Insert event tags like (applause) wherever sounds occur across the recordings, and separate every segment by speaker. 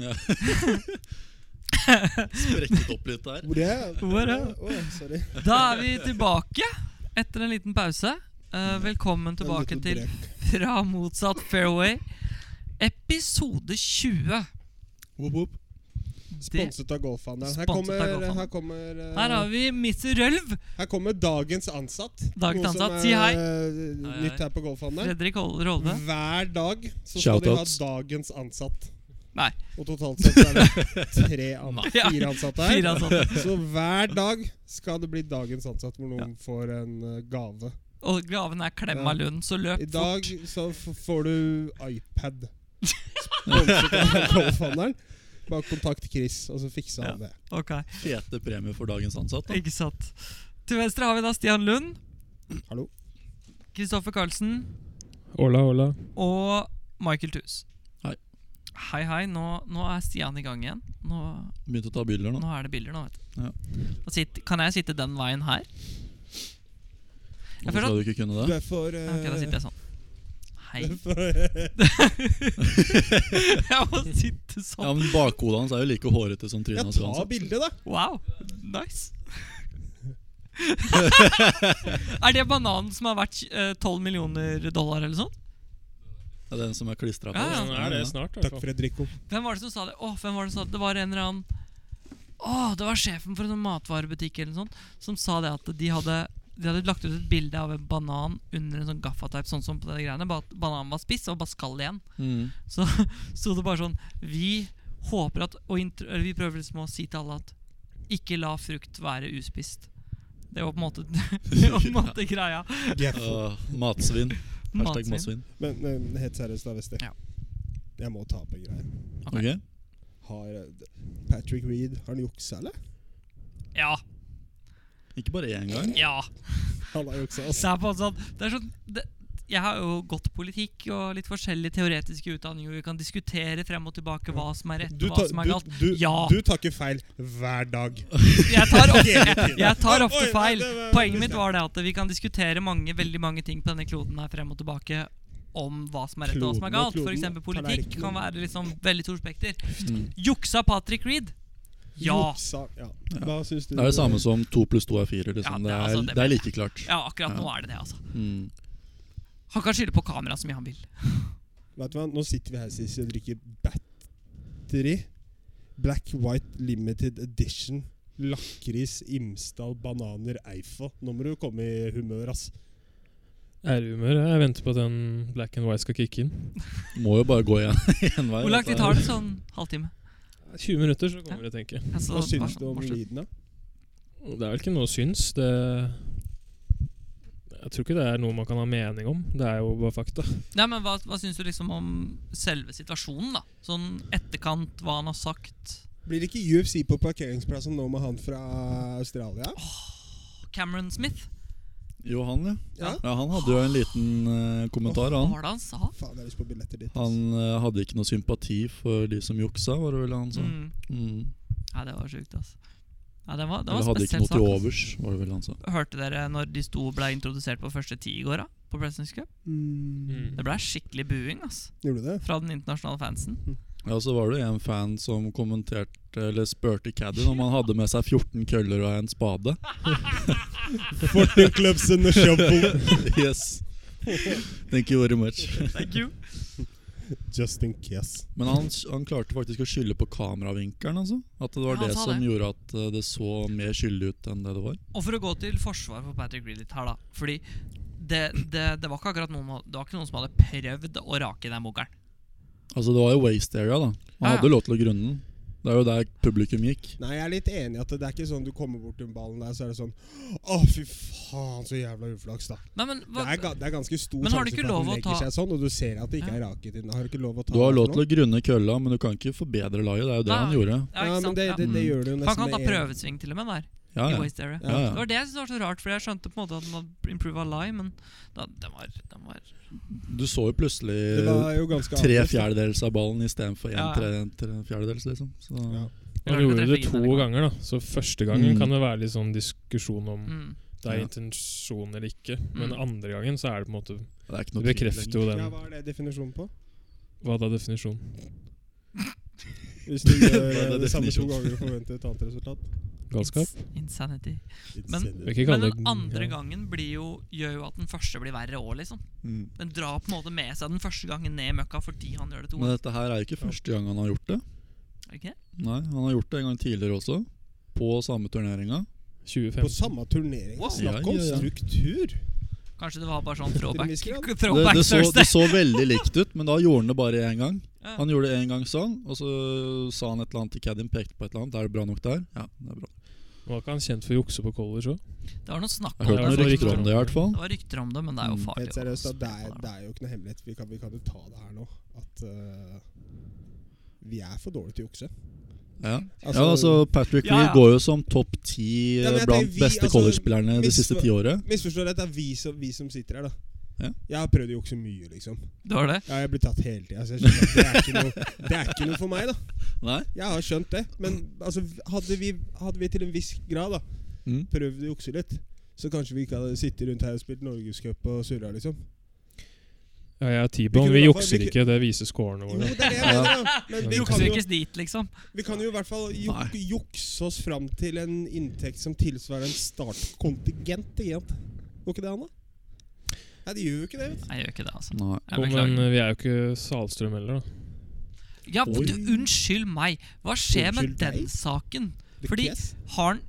Speaker 1: (laughs)
Speaker 2: Sprekket opp litt der.
Speaker 3: Hvor er
Speaker 1: Hvor er-
Speaker 3: Å, ja, sorry.
Speaker 1: Da er vi tilbake etter en liten pause. Eh, velkommen
Speaker 3: Det var litt
Speaker 1: tilbake til
Speaker 3: brek.
Speaker 1: Fra motsatt fairway, episode 20.
Speaker 3: Whoop, whoop.
Speaker 1: Det,
Speaker 3: Sponset av Golfhandelen. Her
Speaker 1: Sponset av
Speaker 3: kommer,
Speaker 1: Golfhandelen.
Speaker 3: her, kommer, eh,
Speaker 1: her har vi Miss Rølv,
Speaker 3: her kommer dagens ansatt.
Speaker 1: Dagens
Speaker 3: Noe som
Speaker 1: ansatt,
Speaker 3: er,
Speaker 1: si hei.
Speaker 3: eh,
Speaker 1: Hei, hei.
Speaker 3: Nytt her på Golfhandelen.
Speaker 1: Fredrik Hol- Rolve.
Speaker 3: Hver dag så skal de ha
Speaker 4: Shoutouts.
Speaker 3: dagens ansatt.
Speaker 1: Nei,
Speaker 3: Og totalt sett så er det
Speaker 1: (laughs)
Speaker 3: tre an
Speaker 1: Nei.
Speaker 3: fire ansatte her.
Speaker 1: fire ansatte.
Speaker 3: Så hver dag skal det bli dagens ansatt, hvor noen får en eh, gave.
Speaker 1: Og graven er klemma lund, så løp
Speaker 3: I
Speaker 1: fort.
Speaker 3: dag så f får du iPad. Sponset av Golfhandelen. Bare kontakt Chris, og så fikser han det.
Speaker 1: Ok,
Speaker 2: Fete premie for dagens ansatt. Da.
Speaker 1: ikke sant. Til venstre har vi da Stian Lund,
Speaker 3: Hallo.
Speaker 1: Kristoffer Karlsen
Speaker 4: Hola, hola.
Speaker 1: og Michael Thus.
Speaker 2: Hei.
Speaker 1: Hei, hei. Nå, nå er Stian i gang igjen. Nå,
Speaker 2: Begynte å ta bilder nå.
Speaker 1: nå er det bilder, nå, vet du.
Speaker 2: Ja.
Speaker 1: Da sitter, kan jeg sitte den veien her?
Speaker 2: Hvorfor skal du ikke kunne
Speaker 3: Du
Speaker 2: det?
Speaker 3: er for
Speaker 1: Ja, Ok, da
Speaker 3: eh, (laughs)
Speaker 1: sitter jeg sånn.
Speaker 2: (laughs)
Speaker 1: Hei. (laughs)
Speaker 3: du er for-
Speaker 1: Jeg må sitte
Speaker 2: Ja,
Speaker 1: sånn.
Speaker 2: men Bakhodet hans er jo like hårete som trynet
Speaker 3: Ja,
Speaker 2: hans.
Speaker 3: ta
Speaker 2: uansett.
Speaker 3: bildet, da!
Speaker 1: Wow.
Speaker 2: (laughs)
Speaker 1: Nice. (laughs) er det bananen som har vært eh, 12 millioner dollar eller sånn?
Speaker 2: Det er den som er klistra på.
Speaker 1: Ja,
Speaker 4: Sånn er det snart. i hvert
Speaker 3: Takk,
Speaker 4: fall.
Speaker 3: Fredrico.
Speaker 1: Hvem var det som sa det? Åh, hvem var det som sa det? Det var en eller annen Åh, det var sjefen for en sånn matvarebutikk eller noe sånt, som sa det at de hadde de hadde lagt ut et bilde av en banan under en sånn gaffateip. Sånn som på denne greiene Bare at Bananen var spiss og bare skall igjen.
Speaker 2: Mm.
Speaker 1: Så (laughs) sto det bare sånn Vi håper at og intro, eller Vi prøver liksom å si til alle at ikke la frukt være uspist. Det var på en måte, (laughs) det var på en måte greia.
Speaker 2: Øh, matsvinn. Hashtag
Speaker 1: Matsvinn.
Speaker 2: matsvinn.
Speaker 3: Men, men helt seriøst, da, Vesti.
Speaker 1: Ja.
Speaker 3: Jeg må ta på en greie.
Speaker 2: Ok?
Speaker 3: Har eh, Patrick Reed Har han juksa, eller?
Speaker 1: Ja.
Speaker 2: Ikke bare én gang.
Speaker 1: Ja.
Speaker 3: Han har juksa,
Speaker 1: Det
Speaker 3: altså.
Speaker 1: er på en sånn, det er sånn det, Jeg har jo gått politikk og litt forskjellige teoretiske utdanninger. Vi kan diskutere frem og tilbake hva som er rett
Speaker 3: Du,
Speaker 1: og hva
Speaker 3: ta,
Speaker 1: som er
Speaker 3: du,
Speaker 1: galt.
Speaker 3: du,
Speaker 1: Ja.
Speaker 3: du tar ikke feil hver dag.
Speaker 1: Jeg
Speaker 3: (laughs)
Speaker 1: tar ofte,
Speaker 3: Hele
Speaker 1: jeg,
Speaker 3: tiden.
Speaker 1: jeg tar
Speaker 3: Oi,
Speaker 1: ofte
Speaker 3: nei,
Speaker 1: feil.
Speaker 3: det var-
Speaker 1: Poenget mitt var det at vi kan diskutere mange, veldig mange ting på denne kloden her frem og tilbake om hva som er rett og hva som
Speaker 3: Kloden
Speaker 1: er
Speaker 3: og
Speaker 1: galt. For
Speaker 3: kloden.
Speaker 1: eksempel politikk
Speaker 3: Tallerkenen.
Speaker 1: kan være liksom veldig stort spekter.
Speaker 2: Mm.
Speaker 1: Juksa Patrick Reed? Ja.
Speaker 3: Juksa, ja. Hva syns du?
Speaker 2: Det er det samme som to pluss to er fire.
Speaker 1: Ja,
Speaker 2: Liksom.
Speaker 1: det
Speaker 2: det,
Speaker 1: er
Speaker 2: er,
Speaker 1: altså det
Speaker 2: det er
Speaker 1: med-
Speaker 2: like klart.
Speaker 1: Ja, akkurat nå
Speaker 2: Ja.
Speaker 1: er det det, altså.
Speaker 2: Mm.
Speaker 1: Han kan skylde på kameraet så mye han vil.
Speaker 3: Vet du hva, Nå sitter vi her Sissy, og drikker Battery. Black White Limited Edition. Lakris, Imsdal, bananer, Eiffel. Nå må du komme i humør, ass.
Speaker 4: Er i humør. Jeg venter på at den black and white skal kicke inn.
Speaker 2: Må jo bare gå igjen (laughs) én vei.
Speaker 1: Hvor lang tid
Speaker 2: dette
Speaker 1: tar
Speaker 2: her.
Speaker 1: det? Sånn halvtime?
Speaker 4: 20 minutter, så kommer det, tenker jeg.
Speaker 1: Altså,
Speaker 3: Hva syns
Speaker 1: bare-
Speaker 3: du om
Speaker 1: bare slutt.
Speaker 3: lyden, da?
Speaker 4: Det er vel ikke noe syns. Det Jeg tror ikke det er noe man kan ha mening om. Det er jo bare fakta.
Speaker 1: Nei, men hva, hva syns du liksom om selve situasjonen, da? Sånn etterkant, hva han har sagt.
Speaker 3: Blir det ikke UFC på parkeringsplassen nå med han fra Australia?
Speaker 1: Cameron Smith,
Speaker 2: Jo, han, ja.
Speaker 3: Ja.
Speaker 2: ja. Han hadde jo en liten eh, kommentar,
Speaker 1: hva
Speaker 2: han.
Speaker 1: var det han sa?
Speaker 3: Faen, jeg har lyst på billetter dit.
Speaker 2: Han eh, hadde ikke noe sympati for de som juksa, var det vel han sa.
Speaker 1: Mm.
Speaker 2: Mm.
Speaker 1: Nei, det var sjukt, ass. Nei, det var, det
Speaker 2: Eller
Speaker 1: var
Speaker 2: hadde ikke
Speaker 1: spesiell
Speaker 2: noe til
Speaker 1: sak. ass.
Speaker 2: overs, var det vel han sa.
Speaker 1: Hørte dere når de sto og ble introdusert på første ti i går, da? På Presidents Cup?
Speaker 3: Mm.
Speaker 1: Det ble skikkelig buing, ass.
Speaker 3: Gjorde du det?
Speaker 1: Fra den internasjonale fansen.
Speaker 2: Ja, og så var det jo en fan som kommenterte Eller spurte Caddy om han hadde med seg 14 køller og en spade. (laughs)
Speaker 3: Fortin clubs and the shovel.
Speaker 2: Yes Thank you very much.
Speaker 1: Thank you.
Speaker 3: Just in case.
Speaker 2: Men han, han klarte faktisk å skylde på kameravinkelen. Altså. At det var
Speaker 1: Ja, han
Speaker 2: det
Speaker 1: sa
Speaker 2: som
Speaker 1: det.
Speaker 2: gjorde at eh, det så mer skyldig ut enn det det var.
Speaker 1: Og for å gå til forsvar for Patrick Reed litt her, da. Fordi det, det, det var ikke akkurat noen Det var ikke noen som hadde prøvd å rake den bunkeren.
Speaker 2: Altså Det var jo waste area, da. Han
Speaker 1: Ja, ja.
Speaker 2: hadde lov til å grunne den. Det er jo der publikum gikk.
Speaker 3: Nei, jeg er litt enig i at det er ikke sånn du kommer bort til ballen der, så er det sånn Å, fy faen, så jævla uflaks, da.
Speaker 1: Nei, men
Speaker 3: Det
Speaker 1: hva,
Speaker 3: er, ga, det er ganske stor
Speaker 1: Men har du
Speaker 3: sjanse
Speaker 1: ikke
Speaker 3: for at
Speaker 1: lov
Speaker 3: den
Speaker 1: å
Speaker 3: legger
Speaker 1: ta-
Speaker 3: seg sånn, og du ser at det ikke er raket inne. Har du ikke lov å ta
Speaker 2: Du har
Speaker 3: den
Speaker 2: lov
Speaker 3: for
Speaker 2: til
Speaker 3: noe?
Speaker 2: å grunne kølla, men du kan ikke forbedre laget. Det er jo det
Speaker 1: Nei.
Speaker 2: han gjorde.
Speaker 1: ja,
Speaker 3: Ja,
Speaker 1: ikke
Speaker 3: men
Speaker 1: sant?
Speaker 3: det,
Speaker 1: Ja.
Speaker 3: det, det gjør du jo
Speaker 1: Han
Speaker 3: nesten
Speaker 1: kan ta
Speaker 3: med en-
Speaker 1: prøvesving til og med der.
Speaker 2: Ja,
Speaker 1: I
Speaker 2: ja.
Speaker 1: waste area.
Speaker 2: Ja,
Speaker 1: Det
Speaker 2: ja.
Speaker 1: var det jeg syntes var så rart, for jeg skjønte på en måte at den var improva lie, men da, den var, den var
Speaker 2: Du så jo
Speaker 3: Det
Speaker 2: plutselig
Speaker 3: var jo ganske
Speaker 2: Eh, tre
Speaker 3: avgjort, da.
Speaker 2: fjerdedels av ballen istedenfor én
Speaker 1: Ja.
Speaker 2: tre, tre fjerdedels, liksom. Så
Speaker 3: Ja.
Speaker 4: Han
Speaker 1: Klarte å
Speaker 4: gjorde det
Speaker 1: treffe
Speaker 4: to
Speaker 1: inn den.
Speaker 4: ganger, da. Så første gangen
Speaker 2: Mm.
Speaker 4: kan det være litt sånn diskusjon om
Speaker 1: Mm.
Speaker 4: det er
Speaker 2: Ja.
Speaker 4: intensjon eller ikke. Men
Speaker 1: Mm.
Speaker 4: andre gangen så er det på en måte
Speaker 2: det er ikke
Speaker 4: Det
Speaker 2: noe tvil
Speaker 4: bekrefter jo
Speaker 2: lenger.
Speaker 4: den
Speaker 3: Ja, hva er det definisjonen på?
Speaker 4: Hva da, definisjonen?
Speaker 2: (laughs)
Speaker 3: Hvis du gjør
Speaker 2: Hva er
Speaker 3: eh,
Speaker 2: det
Speaker 3: det samme to
Speaker 2: definisjonen?
Speaker 3: ganger og forventer et annet resultat.
Speaker 4: Galskap.
Speaker 1: Ins- Insanity. Men-
Speaker 4: Vil
Speaker 3: Insanity.
Speaker 4: ikke
Speaker 1: Men
Speaker 4: kalle
Speaker 1: den
Speaker 4: det
Speaker 1: andre
Speaker 4: ja.
Speaker 1: gangen blir jo, gjør jo at den første blir verre òg, liksom.
Speaker 2: Mm.
Speaker 1: Den drar på en måte med seg den første gangen ned i møkka fordi han gjør det to
Speaker 2: Men
Speaker 1: ganger.
Speaker 2: dette her er jo ikke første gang han har gjort det.
Speaker 1: er det ikke det?
Speaker 2: Nei, Han har gjort det en gang tidligere også, på samme turneringa.
Speaker 4: 2015.
Speaker 3: På samme turnering.
Speaker 1: Wow.
Speaker 3: Snakk om
Speaker 2: Ja, ja, ja.
Speaker 3: struktur!
Speaker 1: Kanskje det var bare sånn
Speaker 3: En
Speaker 1: throwback,
Speaker 3: viss grad.
Speaker 2: Det,
Speaker 1: (laughs) throwback
Speaker 2: det, så, det
Speaker 1: Thursday.
Speaker 2: så veldig likt ut, men da gjorde han det bare én gang.
Speaker 1: Ja.
Speaker 2: Han gjorde det én gang sånn, og så sa han et eller annet til Caddien, pekte på et eller annet. Er det bra nok der? Ja, det er bra.
Speaker 4: Var ikke han kjent for å jukse på college òg?
Speaker 1: Det var noe snakk
Speaker 2: Jeg
Speaker 1: om
Speaker 2: har hørt
Speaker 4: Ja,
Speaker 2: noen
Speaker 1: det.
Speaker 4: det var
Speaker 1: Det
Speaker 2: rykter
Speaker 4: riktig.
Speaker 2: om det i hvert fall.
Speaker 1: var rykter om det, men det er jo
Speaker 2: Mm.
Speaker 1: farlig.
Speaker 3: Helt
Speaker 1: å
Speaker 3: seriøst, da, det, er,
Speaker 1: spå
Speaker 3: det
Speaker 1: der.
Speaker 3: er jo ikke noe hemmelighet. Vi kan, vi kan jo ta det her nå. At eh, vi er for dårlige til å jukse.
Speaker 2: Ja.
Speaker 3: Altså-
Speaker 2: ja, altså Patrick
Speaker 1: Ja,
Speaker 2: Reed
Speaker 1: ja.
Speaker 2: går jo som topp ti eh,
Speaker 3: Ja, men jeg
Speaker 2: blant
Speaker 3: tenker vi,
Speaker 2: beste
Speaker 3: altså,
Speaker 2: college-spillerne det
Speaker 3: hvis-
Speaker 2: siste tiåret.
Speaker 3: Misforstå rett, det er vi som, vi som sitter her, da.
Speaker 2: Ja.
Speaker 3: Jeg har prøvd å jukse mye, liksom.
Speaker 1: Det var det?
Speaker 3: Ja, jeg blir tatt hele tida. Så jeg skjønner at det er, ikke noe, det er ikke noe for meg, da.
Speaker 2: Nei?
Speaker 3: Jeg har skjønt det. Men altså, hadde, vi, hadde vi til en viss grad da
Speaker 2: Mm.
Speaker 3: prøvd å jukse litt, så kanskje vi ikke hadde sittet rundt her og spilt norgescup og surra, liksom.
Speaker 4: Ja, jeg er
Speaker 3: Vi
Speaker 4: T-bone.
Speaker 3: kunne i
Speaker 4: Vi
Speaker 3: hvert fall-
Speaker 4: jukser
Speaker 3: vi
Speaker 4: ikke, det viser scorene
Speaker 3: Jo,
Speaker 4: våre.
Speaker 3: det er det jeg mener, da. Men vi
Speaker 4: Ja.
Speaker 1: Jukser
Speaker 3: kan jo,
Speaker 1: ikke dit, liksom.
Speaker 3: vi kan jo i hvert fall ju-
Speaker 2: Nei.
Speaker 3: jukse oss fram til en inntekt som tilsvarer en startkontingent. ikke sant? Går ikke det an, da? Nei, det gjør jo ikke det. vet du.
Speaker 1: Nei, Jeg gjør ikke det, altså.
Speaker 2: Nei.
Speaker 4: Jo,
Speaker 1: Jeg
Speaker 4: men
Speaker 1: beklager.
Speaker 4: eh, vi er jo ikke Salstrøm heller, da.
Speaker 1: Ja,
Speaker 2: eh, Oi.
Speaker 1: du, unnskyld meg. Hva skjer med
Speaker 3: Unnskyld
Speaker 1: den
Speaker 3: deg?
Speaker 1: saken?
Speaker 3: The
Speaker 1: Fordi
Speaker 3: Kiss.
Speaker 1: Har han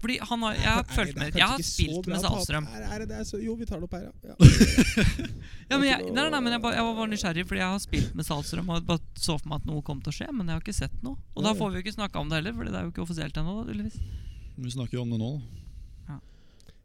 Speaker 1: Fordi han har Jeg
Speaker 3: Nei,
Speaker 1: har fulgt
Speaker 3: det er
Speaker 1: med. Jeg har
Speaker 3: kanskje ikke så
Speaker 1: spilt
Speaker 3: bra
Speaker 1: med
Speaker 3: tap.
Speaker 1: Salstrøm.
Speaker 3: Er, er det det? Så, jo, vi tar det opp her, ja. ja.
Speaker 1: Ja, men jeg, nei, nei, nei, men jeg, ba, jeg var bare nysgjerrig, fordi jeg har spilt med Salstrøm og bare så for meg at noe kom til å skje, men jeg har ikke sett noe. Og da
Speaker 3: Ja, ja.
Speaker 1: får vi jo ikke snakka om det heller, Fordi det er jo ikke offisielt ennå. da, tydeligvis.
Speaker 2: Vi snakker jo om det nå.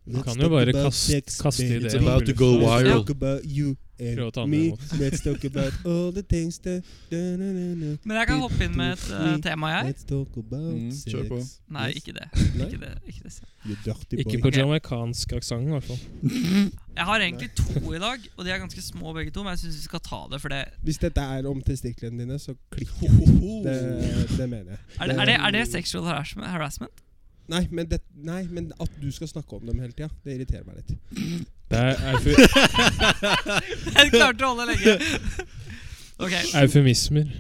Speaker 4: Du kan jo bare kaste, kaste ideen.
Speaker 2: It's about to go
Speaker 4: veldig fort.
Speaker 2: viral.
Speaker 3: Let's talk about you
Speaker 4: Prøv å ta
Speaker 3: and
Speaker 4: med
Speaker 3: me.
Speaker 4: imot.
Speaker 3: Let's talk about all the things that da, na, na, na.
Speaker 1: Men jeg kan hoppe inn med et eh, tema, jeg.
Speaker 3: Let's talk about
Speaker 2: Mm,
Speaker 3: sex.
Speaker 2: kjør på.
Speaker 1: Nei,
Speaker 3: Yes.
Speaker 1: ikke det.
Speaker 3: Nei?
Speaker 1: Ikke det, ikke det.
Speaker 3: You dirty boy.
Speaker 4: Ikke på jamaicansk aksent, i hvert fall.
Speaker 1: Jeg har egentlig to i dag, og de er ganske små begge to, men jeg syns vi skal ta det, for det
Speaker 3: Hvis dette er om testiklene dine, så klikk. Det, det mener jeg.
Speaker 1: Er det, er det, er det sexual harassment? harassment? (laughs)
Speaker 3: Nei men, det, nei, men at du skal snakke om dem hele tida, det irriterer meg litt.
Speaker 4: Det er eufo-
Speaker 1: Jeg klarte å holde lenge.
Speaker 3: (laughs)
Speaker 1: Ok,
Speaker 4: eufemismer.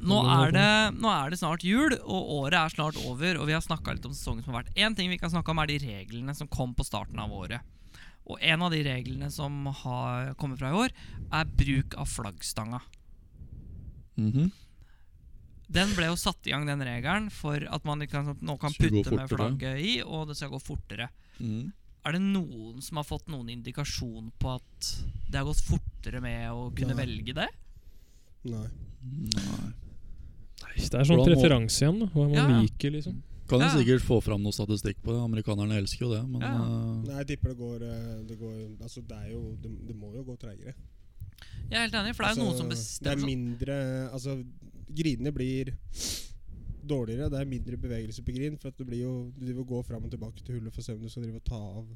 Speaker 1: nå er, det, nå er det snart jul, og året er snart over. Og vi har snakka litt om sesongen som har vært. Én ting vi kan snakke om, er de reglene som kom på starten av året. Og en av de reglene som har kommet fra i år, er bruk av flaggstanga.
Speaker 2: Mhm.
Speaker 1: Den ble jo satt i gang, den regelen, for at man ikke kan, sånn, nå kan
Speaker 2: Skal gå
Speaker 1: putte med
Speaker 2: fortere.
Speaker 1: flagget i, og det skal gå fortere.
Speaker 2: Mhm.
Speaker 1: Er det noen som har fått noen indikasjon på at det har gått fortere med å kunne
Speaker 3: Nei.
Speaker 1: velge det?
Speaker 3: Nei.
Speaker 2: Nei.
Speaker 4: Nei, Det er sånn
Speaker 2: Hvordan må-
Speaker 4: referanse igjen, da. Hva man
Speaker 1: Ja. Mm.
Speaker 4: liker, liksom.
Speaker 2: Kan jo
Speaker 1: Ja.
Speaker 2: sikkert få fram noe statistikk på det. Amerikanerne elsker jo det, men
Speaker 1: Ja.
Speaker 2: eh,
Speaker 3: Nei, jeg tipper det går, eh, det går Altså, det er jo Det, det må jo gå treigere.
Speaker 1: Jeg er helt enig, for det er jo
Speaker 3: Altså,
Speaker 1: noen som
Speaker 3: Det er
Speaker 1: bestemmer sånn.
Speaker 3: mindre Altså, grinene blir dårligere. Det er mindre bevegelse på grin. For at det blir jo Du driver og går fram og tilbake til hullet for å se om du skal drive og ta av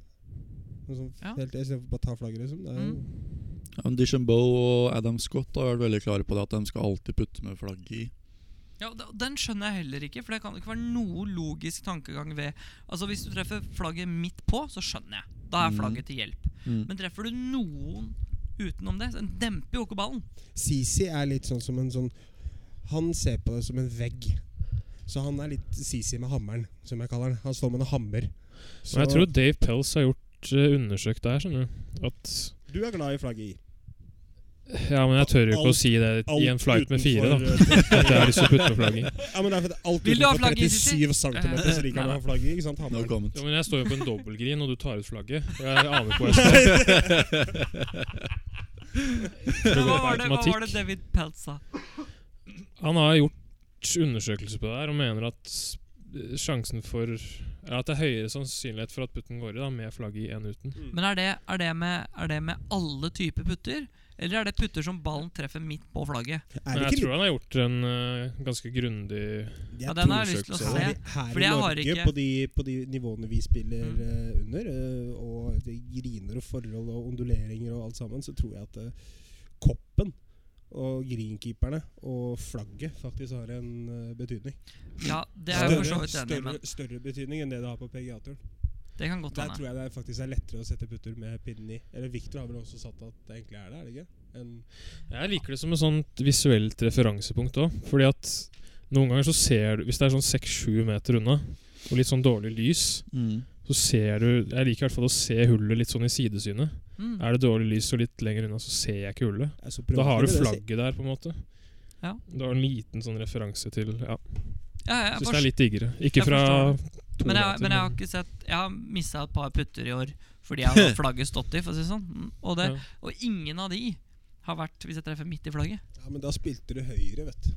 Speaker 3: noe sånt.
Speaker 1: Ja. Mm.
Speaker 3: Helt istedenfor bare å ta flagget, liksom. Det er jo
Speaker 2: ja, men Deschambeau og Adam Scott har vært veldig klare på det at de skal alltid putte med flagg i.
Speaker 1: Ja, og da- Den skjønner jeg heller ikke, for det kan ikke være noe logisk tankegang ved Altså, Hvis du treffer flagget midt på, så skjønner jeg. Da er
Speaker 2: Mhm.
Speaker 1: flagget til hjelp.
Speaker 2: Mm.
Speaker 1: Men treffer du noen utenom det, så den demper jo ikke
Speaker 4: (laughs)
Speaker 1: ballen.
Speaker 3: Sisi er litt sånn som en sånn Han ser på det som en vegg. Så han er litt Sisi med hammeren, som jeg kaller han. Han står med en hammer. Så
Speaker 4: Men jeg tror Dave Pels har gjort eh, undersøkt det her, skjønner du. At
Speaker 3: du er glad i flagget i.
Speaker 4: Ja, men jeg tør jo ikke
Speaker 3: Alt-
Speaker 4: å si det i en flight med fire, da.
Speaker 3: da.
Speaker 4: At jeg har lyst til å putte med flagging.
Speaker 3: (laughs) Ja, men det er fordi alt
Speaker 1: Vil du ha
Speaker 3: utenfor
Speaker 1: flagget i, Sisi?
Speaker 3: 37 cm, så liker han å ha flagget i. Ikke sant?
Speaker 2: No
Speaker 3: Hammeren.
Speaker 2: comment.
Speaker 4: Ja, men jeg står jo på en dobbeltgrin, og du tar ut flagget. Og jeg aner ikke hvor jeg står.
Speaker 1: Men
Speaker 4: går
Speaker 1: hva
Speaker 4: på
Speaker 1: var det, hva
Speaker 4: automatikk.
Speaker 1: var det David Pelt sa?
Speaker 4: Han har gjort undersøkelser på det her og mener at s- sjansen for ja, At det er høyere sannsynlighet for at putten går i da, med flagget i enn uten.
Speaker 1: Men er det, er, det med, er det med alle typer putter? Eller er det putter som ballen treffer midt på flagget?
Speaker 3: Er
Speaker 4: Men
Speaker 3: det
Speaker 4: jeg
Speaker 3: ikke
Speaker 4: tror han har gjort en eh, ganske grundig
Speaker 3: jeg
Speaker 1: Ja, den har jeg lyst til å
Speaker 3: tror-
Speaker 1: se.
Speaker 3: Her, her
Speaker 1: Fordi
Speaker 3: i
Speaker 1: jeg har
Speaker 3: Norge,
Speaker 1: ikke-
Speaker 3: på, de, på de nivåene vi spiller
Speaker 1: Mm.
Speaker 3: eh, under, eh, og det griner og forhold og onduleringer og alt sammen, så tror jeg at eh, koppen og greenkeeperne og flagget faktisk har en eh, betydning.
Speaker 1: Ja, det er jeg for så vidt enig i,
Speaker 3: større,
Speaker 1: men
Speaker 3: større betydning enn det det har på PGA-turen.
Speaker 1: det kan godt
Speaker 3: Der
Speaker 1: hende.
Speaker 3: tror jeg det er faktisk er lettere å sette putter med pinnen i. Eller Victor har vel også satt at det egentlig er det, er det ikke? En
Speaker 4: Jeg liker det som et sånt visuelt referansepunkt òg. Fordi at Noen ganger så ser du Hvis det er sånn 6-7 meter unna, og litt sånn dårlig lys,
Speaker 2: Mm.
Speaker 4: så ser du Jeg liker i hvert fall å se hullet litt sånn i sidesynet.
Speaker 1: Mm.
Speaker 4: Er det dårlig lys og litt lenger unna, så ser jeg ikke hullet.
Speaker 3: Jeg er så
Speaker 4: Da har du
Speaker 3: prøvende, det,
Speaker 4: flagget der, på en måte.
Speaker 1: Ja.
Speaker 4: Du har en liten sånn referanse til Ja,
Speaker 1: Ja, ja, jeg
Speaker 4: syns det er
Speaker 1: forstår.
Speaker 4: litt diggere. Ikke
Speaker 1: Jeg
Speaker 4: fra
Speaker 1: forstår.
Speaker 4: to
Speaker 1: men, jeg,
Speaker 4: meter,
Speaker 1: men jeg har ikke sett Jeg har missa et par putter i år fordi
Speaker 3: (laughs)
Speaker 1: jeg har hatt flagget stått i, for å si det sånn. Mm, Og, det,
Speaker 4: Ja.
Speaker 1: og ingen av de har vært hvis jeg treffer midt i flagget.
Speaker 3: sier. Ja, men da spilte du høyre, vet du.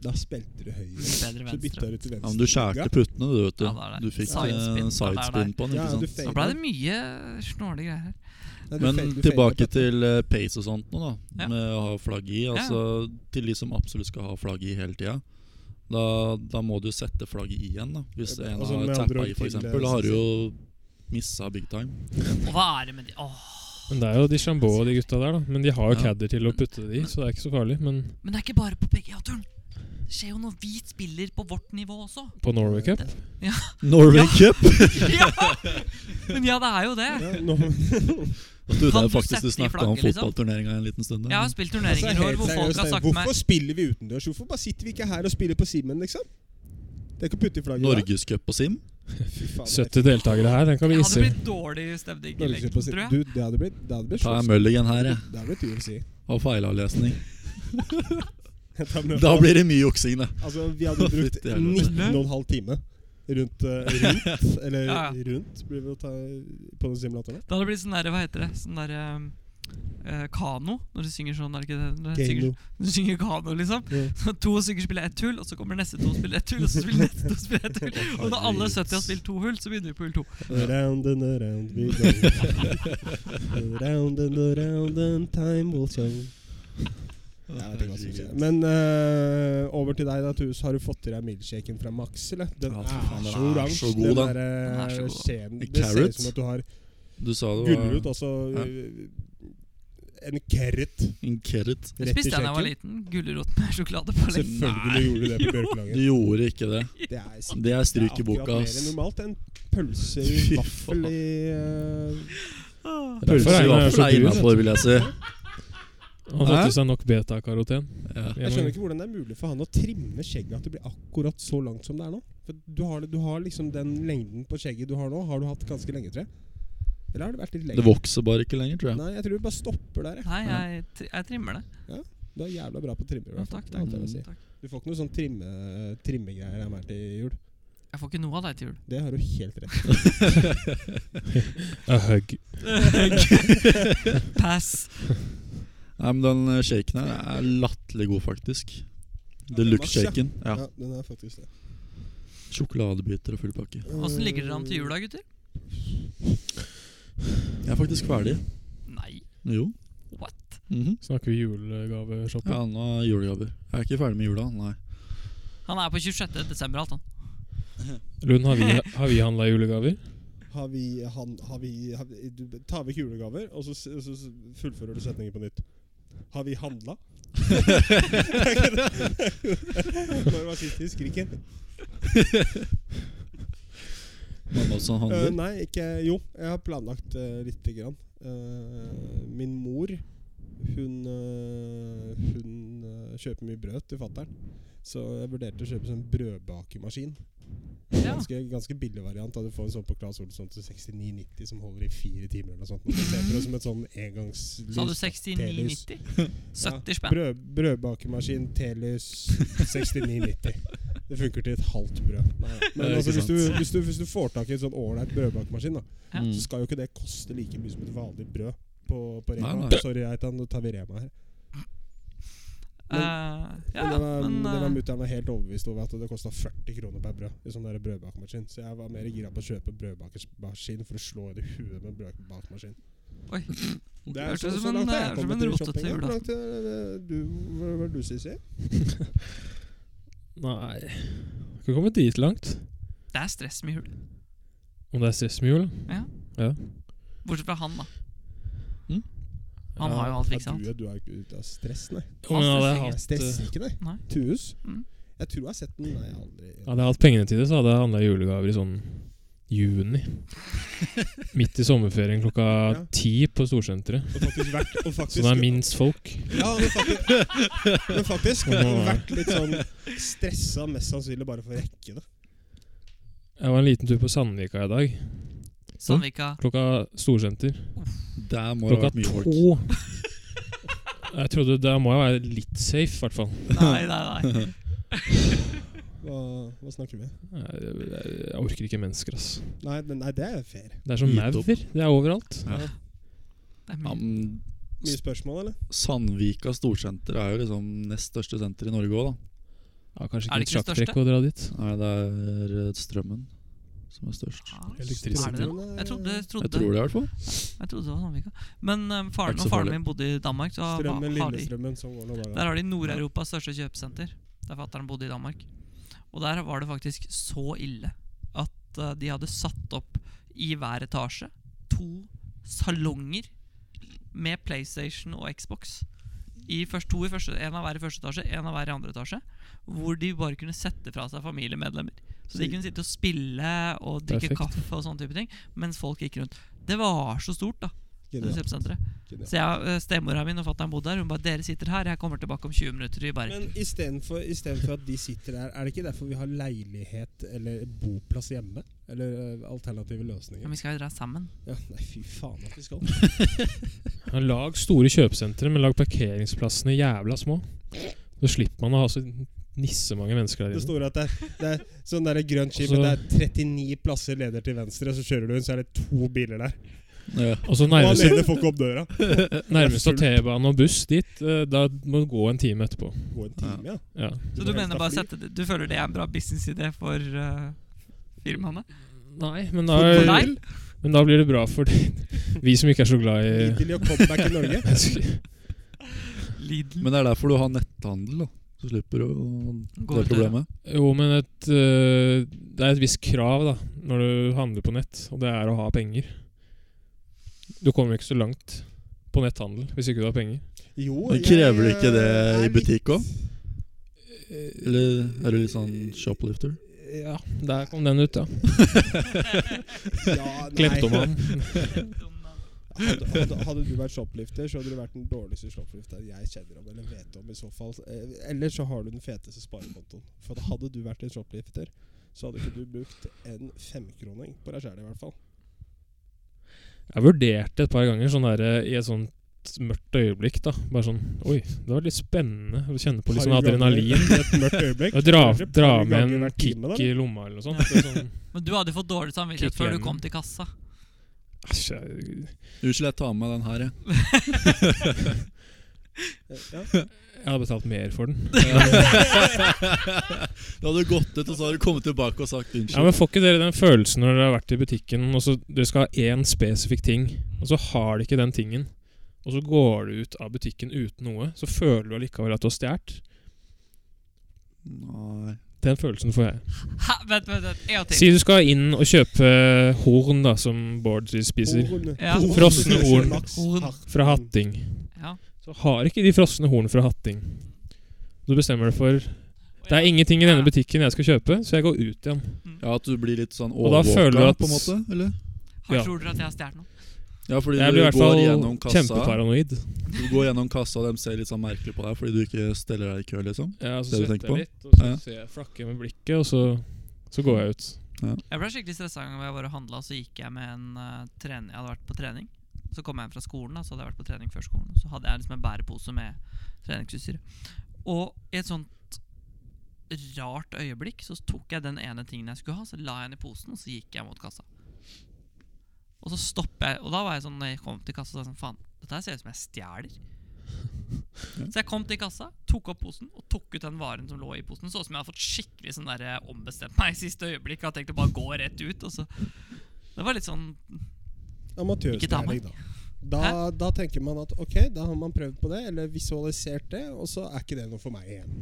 Speaker 3: Da spilte du høyre.
Speaker 1: Litt bedre
Speaker 3: Så bytta
Speaker 1: venstre.
Speaker 3: du til venstre.
Speaker 2: Ja, men du skjærte puttene, du, vet du.
Speaker 1: Ja, det er det.
Speaker 2: Du fikk eh,
Speaker 1: Sidespin. Det er
Speaker 2: sidespin
Speaker 1: det.
Speaker 2: på den,
Speaker 3: Ja,
Speaker 2: ikke
Speaker 3: du
Speaker 2: sant.
Speaker 1: Da
Speaker 3: feilet.
Speaker 1: ble det mye snåle greier her.
Speaker 3: Nei, du
Speaker 2: Men
Speaker 3: feil- du
Speaker 2: tilbake
Speaker 3: feilet.
Speaker 2: til eh, pace og sånt nå, da.
Speaker 1: Ja.
Speaker 2: Med å ha flagg i. Altså til de som absolutt skal ha flagg i hele tida. Da, da må du sette flagget i igjen, da. Hvis
Speaker 3: Ja,
Speaker 2: en
Speaker 3: altså, med
Speaker 2: har
Speaker 3: andre
Speaker 2: tappa
Speaker 3: ord
Speaker 2: i, f.eks.
Speaker 3: til, eh,
Speaker 2: Da har du jo missa big time.
Speaker 1: Og hva er det med de Åh,
Speaker 4: Men det er jo de Chambeau og de gutta der, da. Men de har jo
Speaker 2: Ja.
Speaker 4: cadder til å putte det i, så det er ikke så farlig. Men
Speaker 1: Men det er ikke bare på PGA-turen. Det skjer jo når vi spiller på vårt nivå også.
Speaker 3: (laughs)
Speaker 4: på Norway Cup
Speaker 2: Norway Cup!
Speaker 1: ja! Men ja, det er jo det.
Speaker 3: Ja, nå,
Speaker 2: Jeg tror det
Speaker 1: Kan
Speaker 2: er
Speaker 1: du
Speaker 2: faktisk
Speaker 1: sette
Speaker 2: du
Speaker 1: i
Speaker 2: snakka om
Speaker 1: flagget, liksom?
Speaker 2: fotballturneringa en liten stund. der.
Speaker 1: Jeg har spilt
Speaker 3: altså,
Speaker 1: turneringer i år
Speaker 3: helt
Speaker 1: hvor folk
Speaker 3: seriøst,
Speaker 1: har
Speaker 3: jeg-
Speaker 1: sagt
Speaker 3: hvorfor
Speaker 1: meg
Speaker 3: spiller vi utendørs? Hvorfor bare sitter vi ikke her og spiller på Simen, liksom? Det er ikke å putte i flagget. da.
Speaker 2: Norgescup på Sim.
Speaker 3: Fy faen, det er
Speaker 4: 70 deltakere her, den kan vi
Speaker 1: Jeg hadde
Speaker 4: isse.
Speaker 1: blitt dårlig stemning i
Speaker 3: Norgescup
Speaker 1: lengden,
Speaker 3: på
Speaker 1: tror
Speaker 3: Simen.
Speaker 1: jeg.
Speaker 3: Du, det hadde blitt Det hadde blitt
Speaker 2: Ta en
Speaker 3: slåss.
Speaker 2: mulligan her, jeg.
Speaker 3: Det hadde blitt UFC.
Speaker 2: Og feilavlesning.
Speaker 3: (laughs) Ta med-
Speaker 2: Da blir det mye juksing, det.
Speaker 3: Altså, vi
Speaker 1: (laughs)
Speaker 3: hadde brukt
Speaker 2: Fytti helvete.
Speaker 3: 19,5 time rundt, eh, rundt eller
Speaker 1: Ja,
Speaker 3: rundt, blir det å ta på den simulatoren.
Speaker 1: Det hadde blitt sånn der, hva heter det, sånn der um, eh, Kano, når du synger sånn, er det ikke det? Når du synger,
Speaker 3: Gano.
Speaker 1: du synger kano, liksom. (laughs)
Speaker 3: Ja.
Speaker 1: Så to stykker spiller ett hull, og så kommer neste to og spiller ett hull, og så spiller neste to og spiller ett hull. Og når alle 70 har spilt to hull, så begynner vi på hull to.
Speaker 3: Around and around we go. around and around and time will show. Jeg vet ikke hva som skjer. Men eh, over til deg, da, Tus. Har du fått i deg milkshaken fra Max? eller? Den
Speaker 2: Ja,
Speaker 3: er
Speaker 2: fy faen, den
Speaker 3: så
Speaker 2: er
Speaker 3: oransje.
Speaker 2: så god, den.
Speaker 3: den. der,
Speaker 1: Den
Speaker 3: eh,
Speaker 1: er så god.
Speaker 3: skjeen.
Speaker 2: I
Speaker 3: Det ser
Speaker 2: carrot?
Speaker 3: ut som at du har
Speaker 2: Du sa det
Speaker 3: gulrot,
Speaker 2: var
Speaker 3: altså
Speaker 2: Ja.
Speaker 3: eh, en carrot
Speaker 2: en carrot.
Speaker 3: rett i
Speaker 1: Det spiste jeg da jeg var
Speaker 3: shaken.
Speaker 1: liten. Gulrot med sjokoladepålegg.
Speaker 3: Selvfølgelig gjorde du det
Speaker 1: (laughs)
Speaker 3: på Bjørkelaget.
Speaker 2: Du gjorde ikke det.
Speaker 3: Det er, sikkert-
Speaker 2: Det er stryk i
Speaker 3: det er akkurat
Speaker 2: boka,
Speaker 3: mer
Speaker 2: ass.
Speaker 3: enn normalt. En pølse i
Speaker 2: (laughs) Fy
Speaker 3: vaffel i eh,
Speaker 1: Åh.
Speaker 2: Pølse i vaffel
Speaker 4: regner jeg så
Speaker 2: er
Speaker 4: brun,
Speaker 2: innafor, vil jeg si.
Speaker 3: (laughs)
Speaker 4: Han
Speaker 3: Hæ?
Speaker 4: har fått i seg nok beta-karoten.
Speaker 2: Ja.
Speaker 3: Jeg skjønner ikke hvordan det er mulig for han å trimme skjegget at det blir akkurat så langt som det er nå. For du har, det- du har liksom den lengden på skjegget du har nå, har du hatt ganske lenge, tror jeg. Eller har det vært litt
Speaker 2: Det
Speaker 3: lenger?
Speaker 2: vokser bare ikke lenger, tror jeg.
Speaker 3: Nei, jeg tror du bare stopper der. jeg.
Speaker 1: Nei, jeg, tri- jeg trimmer det.
Speaker 3: Du er jævla bra på trimmer. i
Speaker 1: Ja,
Speaker 3: hvert fall.
Speaker 1: takk,
Speaker 3: Det er
Speaker 1: takk,
Speaker 3: alt jeg vil si.
Speaker 1: takk.
Speaker 3: Du får ikke noe sånn trimme, trimmegreier av meg til jul.
Speaker 1: Jeg får ikke noe av deg til jul.
Speaker 3: Det har du helt rett i.
Speaker 2: (laughs)
Speaker 4: A hug.
Speaker 1: Pass.
Speaker 2: Nei, men den eh, shaken her er latterlig god, faktisk.
Speaker 3: den var
Speaker 2: Deluxe-shaken. Ja.
Speaker 3: Ja, den er faktisk det.
Speaker 2: Sjokoladebiter og full pakke.
Speaker 1: Åssen ligger dere an til jula, gutter?
Speaker 2: Jeg er faktisk ferdig.
Speaker 1: Nei.
Speaker 2: Jo.
Speaker 1: What?
Speaker 2: Mhm.
Speaker 4: Snakker vi julegaveshopping?
Speaker 2: Ja, nå er julegaver. Jeg er ikke ferdig med jula, nei.
Speaker 1: Han er på 26. desember, alt han.
Speaker 4: Lund, har vi, har vi handla julegaver?
Speaker 3: Har vi, han, har vi, har vi du, Tar vekk julegaver, og så, s- og så s- fullfører du setningen på nytt. Har vi handla? Når var sist vi skrek igjen?
Speaker 2: Mamma også handler.
Speaker 3: Eh, nei, ikke Jo, jeg har planlagt uh, lite grann. Eh, min mor, hun eh, Hun eh, kjøper mye brød til fatter'n. Så jeg vurderte å kjøpe sånn brødbakemaskin.
Speaker 1: Ja.
Speaker 3: Ganske, ganske billig variant. Da du får en sånn på Claes Olsson til 69,90 som holder i fire timer. eller noe sånt. Du ser på det som et sånn engangslys.
Speaker 1: Sa du
Speaker 3: da.
Speaker 1: 69,90? (laughs) 70 spenn.
Speaker 3: Brød, brødbakemaskin, telys, 69,90. Det funker til et halvt brød. Nei, da.
Speaker 2: Ja,
Speaker 3: men
Speaker 2: ikke
Speaker 3: altså, hvis,
Speaker 2: sant.
Speaker 3: du, hvis, du, hvis du får tak i en sånn ålreit brødbakemaskin, da,
Speaker 1: Ja.
Speaker 2: Mm.
Speaker 3: så skal jo ikke det koste like mye som et vanlig brød på, på Rema.
Speaker 2: Nei, nei.
Speaker 3: Sorry, Eitan, nå tar vi Rema her.
Speaker 1: Eh, ja,
Speaker 3: men det var,
Speaker 1: men,
Speaker 3: det var
Speaker 1: eh,
Speaker 3: mutter'n var helt overbevist over at det kosta 40 kroner per brød. I sånn der brødbakemaskin Så jeg var mer gira på å kjøpe brødbakemaskin for å slå i det huet med brødbakemaskin.
Speaker 1: Oi.
Speaker 3: Det
Speaker 1: Hørtes
Speaker 3: så-
Speaker 1: ut
Speaker 3: så
Speaker 1: som en-
Speaker 3: langt har jeg
Speaker 1: som
Speaker 3: kommet
Speaker 1: en
Speaker 3: i
Speaker 1: rotete
Speaker 3: shopping.
Speaker 1: jul, da.
Speaker 3: Hvor langt er det du, hva var det du, Sissy?
Speaker 4: Nei Har ikke kommet dit langt.
Speaker 1: Det er stress med jul.
Speaker 4: Om det er stress med jul?
Speaker 1: Ja.
Speaker 4: Ja.
Speaker 1: Bortsett fra han, da.
Speaker 2: Mm.
Speaker 1: Han
Speaker 4: Ja,
Speaker 1: har jo alt fiksa.
Speaker 3: Ja,
Speaker 1: alt.
Speaker 3: du, er- du er ikke ute av stress, nei.
Speaker 4: Om jeg hadde
Speaker 1: Stress-
Speaker 4: hatt,
Speaker 3: Stress
Speaker 4: eh,
Speaker 3: ikke, nei.
Speaker 1: Nei.
Speaker 3: Tues.
Speaker 1: Mm.
Speaker 3: Jeg tror jeg har sett den. Nei, jeg har aldri
Speaker 4: eh, hadde jeg hatt pengene til det, så hadde jeg handla julegaver i sånn juni. Midt i sommerferien klokka
Speaker 3: Ja.
Speaker 4: ti på Storsenteret.
Speaker 3: Og faktisk vært og faktisk,
Speaker 4: Så det er minst folk.
Speaker 3: Ja, men faktisk, men faktisk
Speaker 4: Nå må-
Speaker 3: vært litt sånn stressa, mest sannsynlig bare for å rekke det.
Speaker 4: Jeg var en liten tur på Sandvika i dag.
Speaker 1: Sandvika.
Speaker 4: Klokka Storsenter.
Speaker 2: Der må det ha
Speaker 4: Klokka
Speaker 2: vært mye folk.
Speaker 4: to. (laughs) Jeg trodde Det må jo være litt safe, i hvert fall.
Speaker 1: Nei, nei, nei.
Speaker 3: Hva, hva snakker vi om?
Speaker 4: Jeg, jeg, jeg orker ikke mennesker, ass.
Speaker 3: Nei, men- nei, det er fair.
Speaker 4: Det er som
Speaker 2: Gitt opp.
Speaker 4: maur. Det er overalt.
Speaker 2: Ja.
Speaker 1: Det er
Speaker 2: Ja,
Speaker 1: mye.
Speaker 2: men
Speaker 3: Mye spørsmål, eller?
Speaker 2: Sandvika storsenter er jo liksom nest største senter i Norge òg, da.
Speaker 4: Ja, kanskje
Speaker 1: Er det
Speaker 4: ikke
Speaker 1: ikke det
Speaker 4: et
Speaker 1: største?
Speaker 4: sjakktrekk å dra dit.
Speaker 2: Nei, det er eh, Strømmen som er størst.
Speaker 1: Ja,
Speaker 4: Elektrisitet.
Speaker 1: Er det det? nå? Jeg trodde, jeg
Speaker 2: Jeg
Speaker 1: trodde,
Speaker 2: tror det, i hvert fall.
Speaker 1: jeg trodde det var Sandvika. Men um,
Speaker 2: Er
Speaker 1: faren,
Speaker 2: ikke
Speaker 1: når
Speaker 2: så
Speaker 1: faren
Speaker 2: farlig.
Speaker 1: min bodde i Danmark, så var-
Speaker 3: Strømmen,
Speaker 1: har de
Speaker 3: Lillestrømmen, som går noen
Speaker 1: Der
Speaker 3: dager.
Speaker 1: har de Nord-Europas største kjøpesenter. Der fatter'n bodde i Danmark. Og der var det faktisk så ille at eh, de hadde satt opp i hver etasje to salonger med PlayStation og Xbox. I først, to i første, en av hver i første etasje, en av hver i andre etasje. Hvor de bare kunne sette fra seg familiemedlemmer. Så de kunne sitte og spille og drikke
Speaker 4: Perfekt.
Speaker 1: kaffe og sånne type ting mens folk gikk rundt. Det var så stort, da. Det
Speaker 3: Genialt.
Speaker 1: kjøpesenteret.
Speaker 3: genialt.
Speaker 1: Så jeg, eh, Stemora min og fatter'n bodde der. Hun bare 'Dere sitter her, jeg kommer tilbake om 20 minutter.' Vi bare
Speaker 3: Men istedenfor istedenfor at de sitter der, er det ikke derfor vi har leilighet eller boplass hjemme? Eller eh, alternative
Speaker 1: ja,
Speaker 3: løsninger?
Speaker 1: men Vi skal jo dra sammen.
Speaker 3: Ja, nei, fy faen at vi skal.
Speaker 4: Ja, Lag store kjøpesentre, men lag parkeringsplassene jævla små. Så slipper man å ha så nissemange mennesker der
Speaker 3: Det
Speaker 4: inne.
Speaker 3: store at det, er- det er sånn der grønt skip,
Speaker 4: Og
Speaker 2: Altså-
Speaker 4: så-
Speaker 3: men det er 39 plasser leder til venstre, så kjører du inn, så er det to biler der.
Speaker 2: Ja.
Speaker 4: Og så
Speaker 3: Og
Speaker 4: nærmest,
Speaker 3: alene får ikke opp døra.
Speaker 4: nærmeste T-bane og buss dit, eh, da må du gå en time etterpå.
Speaker 3: Gå en time, ja.
Speaker 4: Ja.
Speaker 1: Så du mener bare å sette det- Du føler det er en bra businessidé for eh, firmaene?
Speaker 4: Nei, men
Speaker 1: For
Speaker 4: da,
Speaker 1: deg?
Speaker 4: men da blir det bra for (laughs) de, vi som ikke er så glad i
Speaker 3: Hittil i å komme back i Norge.
Speaker 1: Lidl.
Speaker 2: Men det er derfor du har netthandel, da. Så slipper du å- det
Speaker 1: Går ut døra.
Speaker 2: problemet.
Speaker 4: Jo, men et, eh, det er et visst krav da når du handler på nett, og det er å ha penger. Du kommer ikke så langt på netthandel hvis ikke du har penger.
Speaker 3: Jo,
Speaker 2: Men
Speaker 3: jeg- eh,
Speaker 2: krever du ikke det
Speaker 3: er
Speaker 2: i
Speaker 3: litt-
Speaker 2: butikk òg? Eh, Eller er du litt sånn shoplifter?
Speaker 4: Ja, der kom den ut, ja.
Speaker 3: Ja, nei.
Speaker 4: Kleptoman.
Speaker 3: Hadde, hadde, hadde du vært shoplifter, så hadde du vært den dårligste shoplifteren jeg kjenner om eller vet om. i så fall Eh, Eller så har du den feteste sparekontoen. For at hadde du vært en shoplifter, så hadde ikke du brukt en femkroning på deg sjæl, i hvert fall.
Speaker 4: Jeg vurderte et par ganger sånn der, eh, i et sånt mørkt øyeblikk. da Bare sånn Oi, det var litt spennende å kjenne på litt sånn
Speaker 3: Har du
Speaker 4: adrenalin.
Speaker 3: ganger- I et mørkt øyeblikk.
Speaker 4: Og Dra,
Speaker 3: kanskje et
Speaker 4: dra
Speaker 3: par
Speaker 4: med
Speaker 3: ganger
Speaker 4: en
Speaker 3: hver time, da,
Speaker 4: kick i lomma eller noe sånt.
Speaker 1: Ja.
Speaker 4: Det er Sånn,
Speaker 1: Men du hadde fått dårlig samvittighet
Speaker 4: Kick
Speaker 1: før du
Speaker 4: igjen.
Speaker 1: kom til kassa.
Speaker 4: æsj, jeg-
Speaker 2: (laughs) Unnskyld, jeg tar med meg den her, jeg.
Speaker 3: Ja.
Speaker 4: jeg hadde betalt mer for den.
Speaker 2: Da hadde du gått ut, og så hadde du kommet tilbake og sagt
Speaker 4: Ja,
Speaker 2: unnskyld.
Speaker 4: men Får ikke dere den følelsen når dere har vært i butikken og så dere skal ha én spesifikk ting, og så har dere ikke den tingen, og så går du ut av butikken uten noe, så føler du allikevel at du har stjålet?
Speaker 2: Nei.
Speaker 4: Den følelsen får jeg.
Speaker 1: Hæ, vent, vent, vent. En gang til.
Speaker 4: Si du skal inn og kjøpe eh, horn, da, som Bård spiser,
Speaker 3: Horn.
Speaker 1: Ja.
Speaker 3: Horn.
Speaker 4: Frosne horn.
Speaker 3: Maks
Speaker 1: Horn.
Speaker 3: hardt.
Speaker 4: fra Hatting.
Speaker 1: Ja.
Speaker 4: Så har ikke de frosne horn fra Hatting. Du bestemmer deg for Det er ingenting i denne butikken jeg skal kjøpe, så jeg går ut igjen.
Speaker 2: Ja, at du blir litt sånn
Speaker 4: Og da føler du
Speaker 2: overvåka,
Speaker 4: at-
Speaker 2: på en måte? Eller?
Speaker 1: Har,
Speaker 4: Ja.
Speaker 1: Tror dere at jeg har stjålet noe?
Speaker 2: Ja, fordi
Speaker 4: Jeg blir i
Speaker 2: du
Speaker 4: hvert
Speaker 2: går gjennom
Speaker 4: fall
Speaker 2: kassa,
Speaker 4: kjempeparanoid.
Speaker 2: Du går gjennom kassa, og de ser litt sånn merkelig på deg fordi du ikke steller deg i kø, liksom.
Speaker 4: Ja,
Speaker 2: Det
Speaker 4: så
Speaker 2: du
Speaker 4: svetter
Speaker 2: tenker på?
Speaker 4: jeg litt, og så
Speaker 2: Ja.
Speaker 4: ser jeg flakke med blikket, og så, så går jeg ut.
Speaker 1: Jeg ble skikkelig stressa en gang jeg var og handla, så gikk jeg med en eh, trening. Jeg hadde vært på trening. Så kom jeg hjem fra skolen, da, så hadde jeg vært på trening før skolen. Så hadde jeg liksom en bærepose med treningsutstyr. Og i et sånt rart øyeblikk så tok jeg den ene tingen jeg skulle ha, så la jeg den i posen, og så gikk jeg mot kassa. Og så stopper jeg, og da var jeg sånn Når jeg kom til kassa, så var jeg sånn faen, dette her ser ut som jeg stjeler. Så jeg kom til kassa, tok opp posen og tok ut den varen som lå i posen. Så ut som jeg hadde fått skikkelig sånn der, eh, ombestemt meg i siste øyeblikk. Jeg hadde tenkt å bare gå rett ut. Og så. Det var litt sånn Ikke ta
Speaker 3: Amatørstjerning,
Speaker 1: meg.
Speaker 3: da. Da, da tenker man at ok, da har man prøvd på det, eller visualisert det, og så er ikke det noe for meg igjen.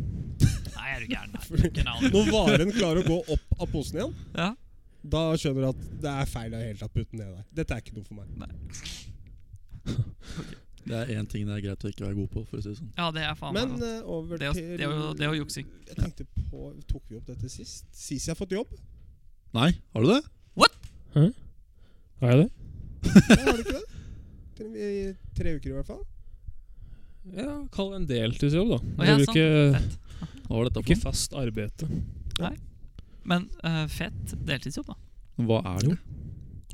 Speaker 1: Nei, er du gæren? Nei, du er ikke
Speaker 3: (laughs)
Speaker 1: en annen.
Speaker 3: Når varen klarer å gå opp av posen igjen,
Speaker 1: Ja.
Speaker 3: da skjønner du at det er feil av hele tatt putte den ned der. Dette er ikke noe for meg.
Speaker 2: Det er én ting det er greit å ikke være god på, for å si det sånn.
Speaker 1: ja, det er faen meg
Speaker 3: Men
Speaker 1: godt.
Speaker 3: eh, over
Speaker 1: Ah. Det er jo-
Speaker 3: til
Speaker 1: det er jo- det er jo juksing.
Speaker 3: Jeg
Speaker 1: (laughs)
Speaker 3: tenkte på Tok vi opp dette sist? Sist jeg har fått jobb?
Speaker 2: Nei, har du det?
Speaker 1: What?
Speaker 4: Har jeg det?
Speaker 3: Nei, har du ikke det? Til- I tre uker, i hvert fall.
Speaker 4: Ja, kall det en deltidsjobb, da.
Speaker 1: ja,
Speaker 4: det blir
Speaker 1: sant.
Speaker 4: ikke,
Speaker 1: Fett.
Speaker 2: Hva var dette
Speaker 4: ikke
Speaker 2: for
Speaker 4: fast arbeid.
Speaker 1: Men eh, fett deltidsjobb, da.
Speaker 2: noe? Hva er det?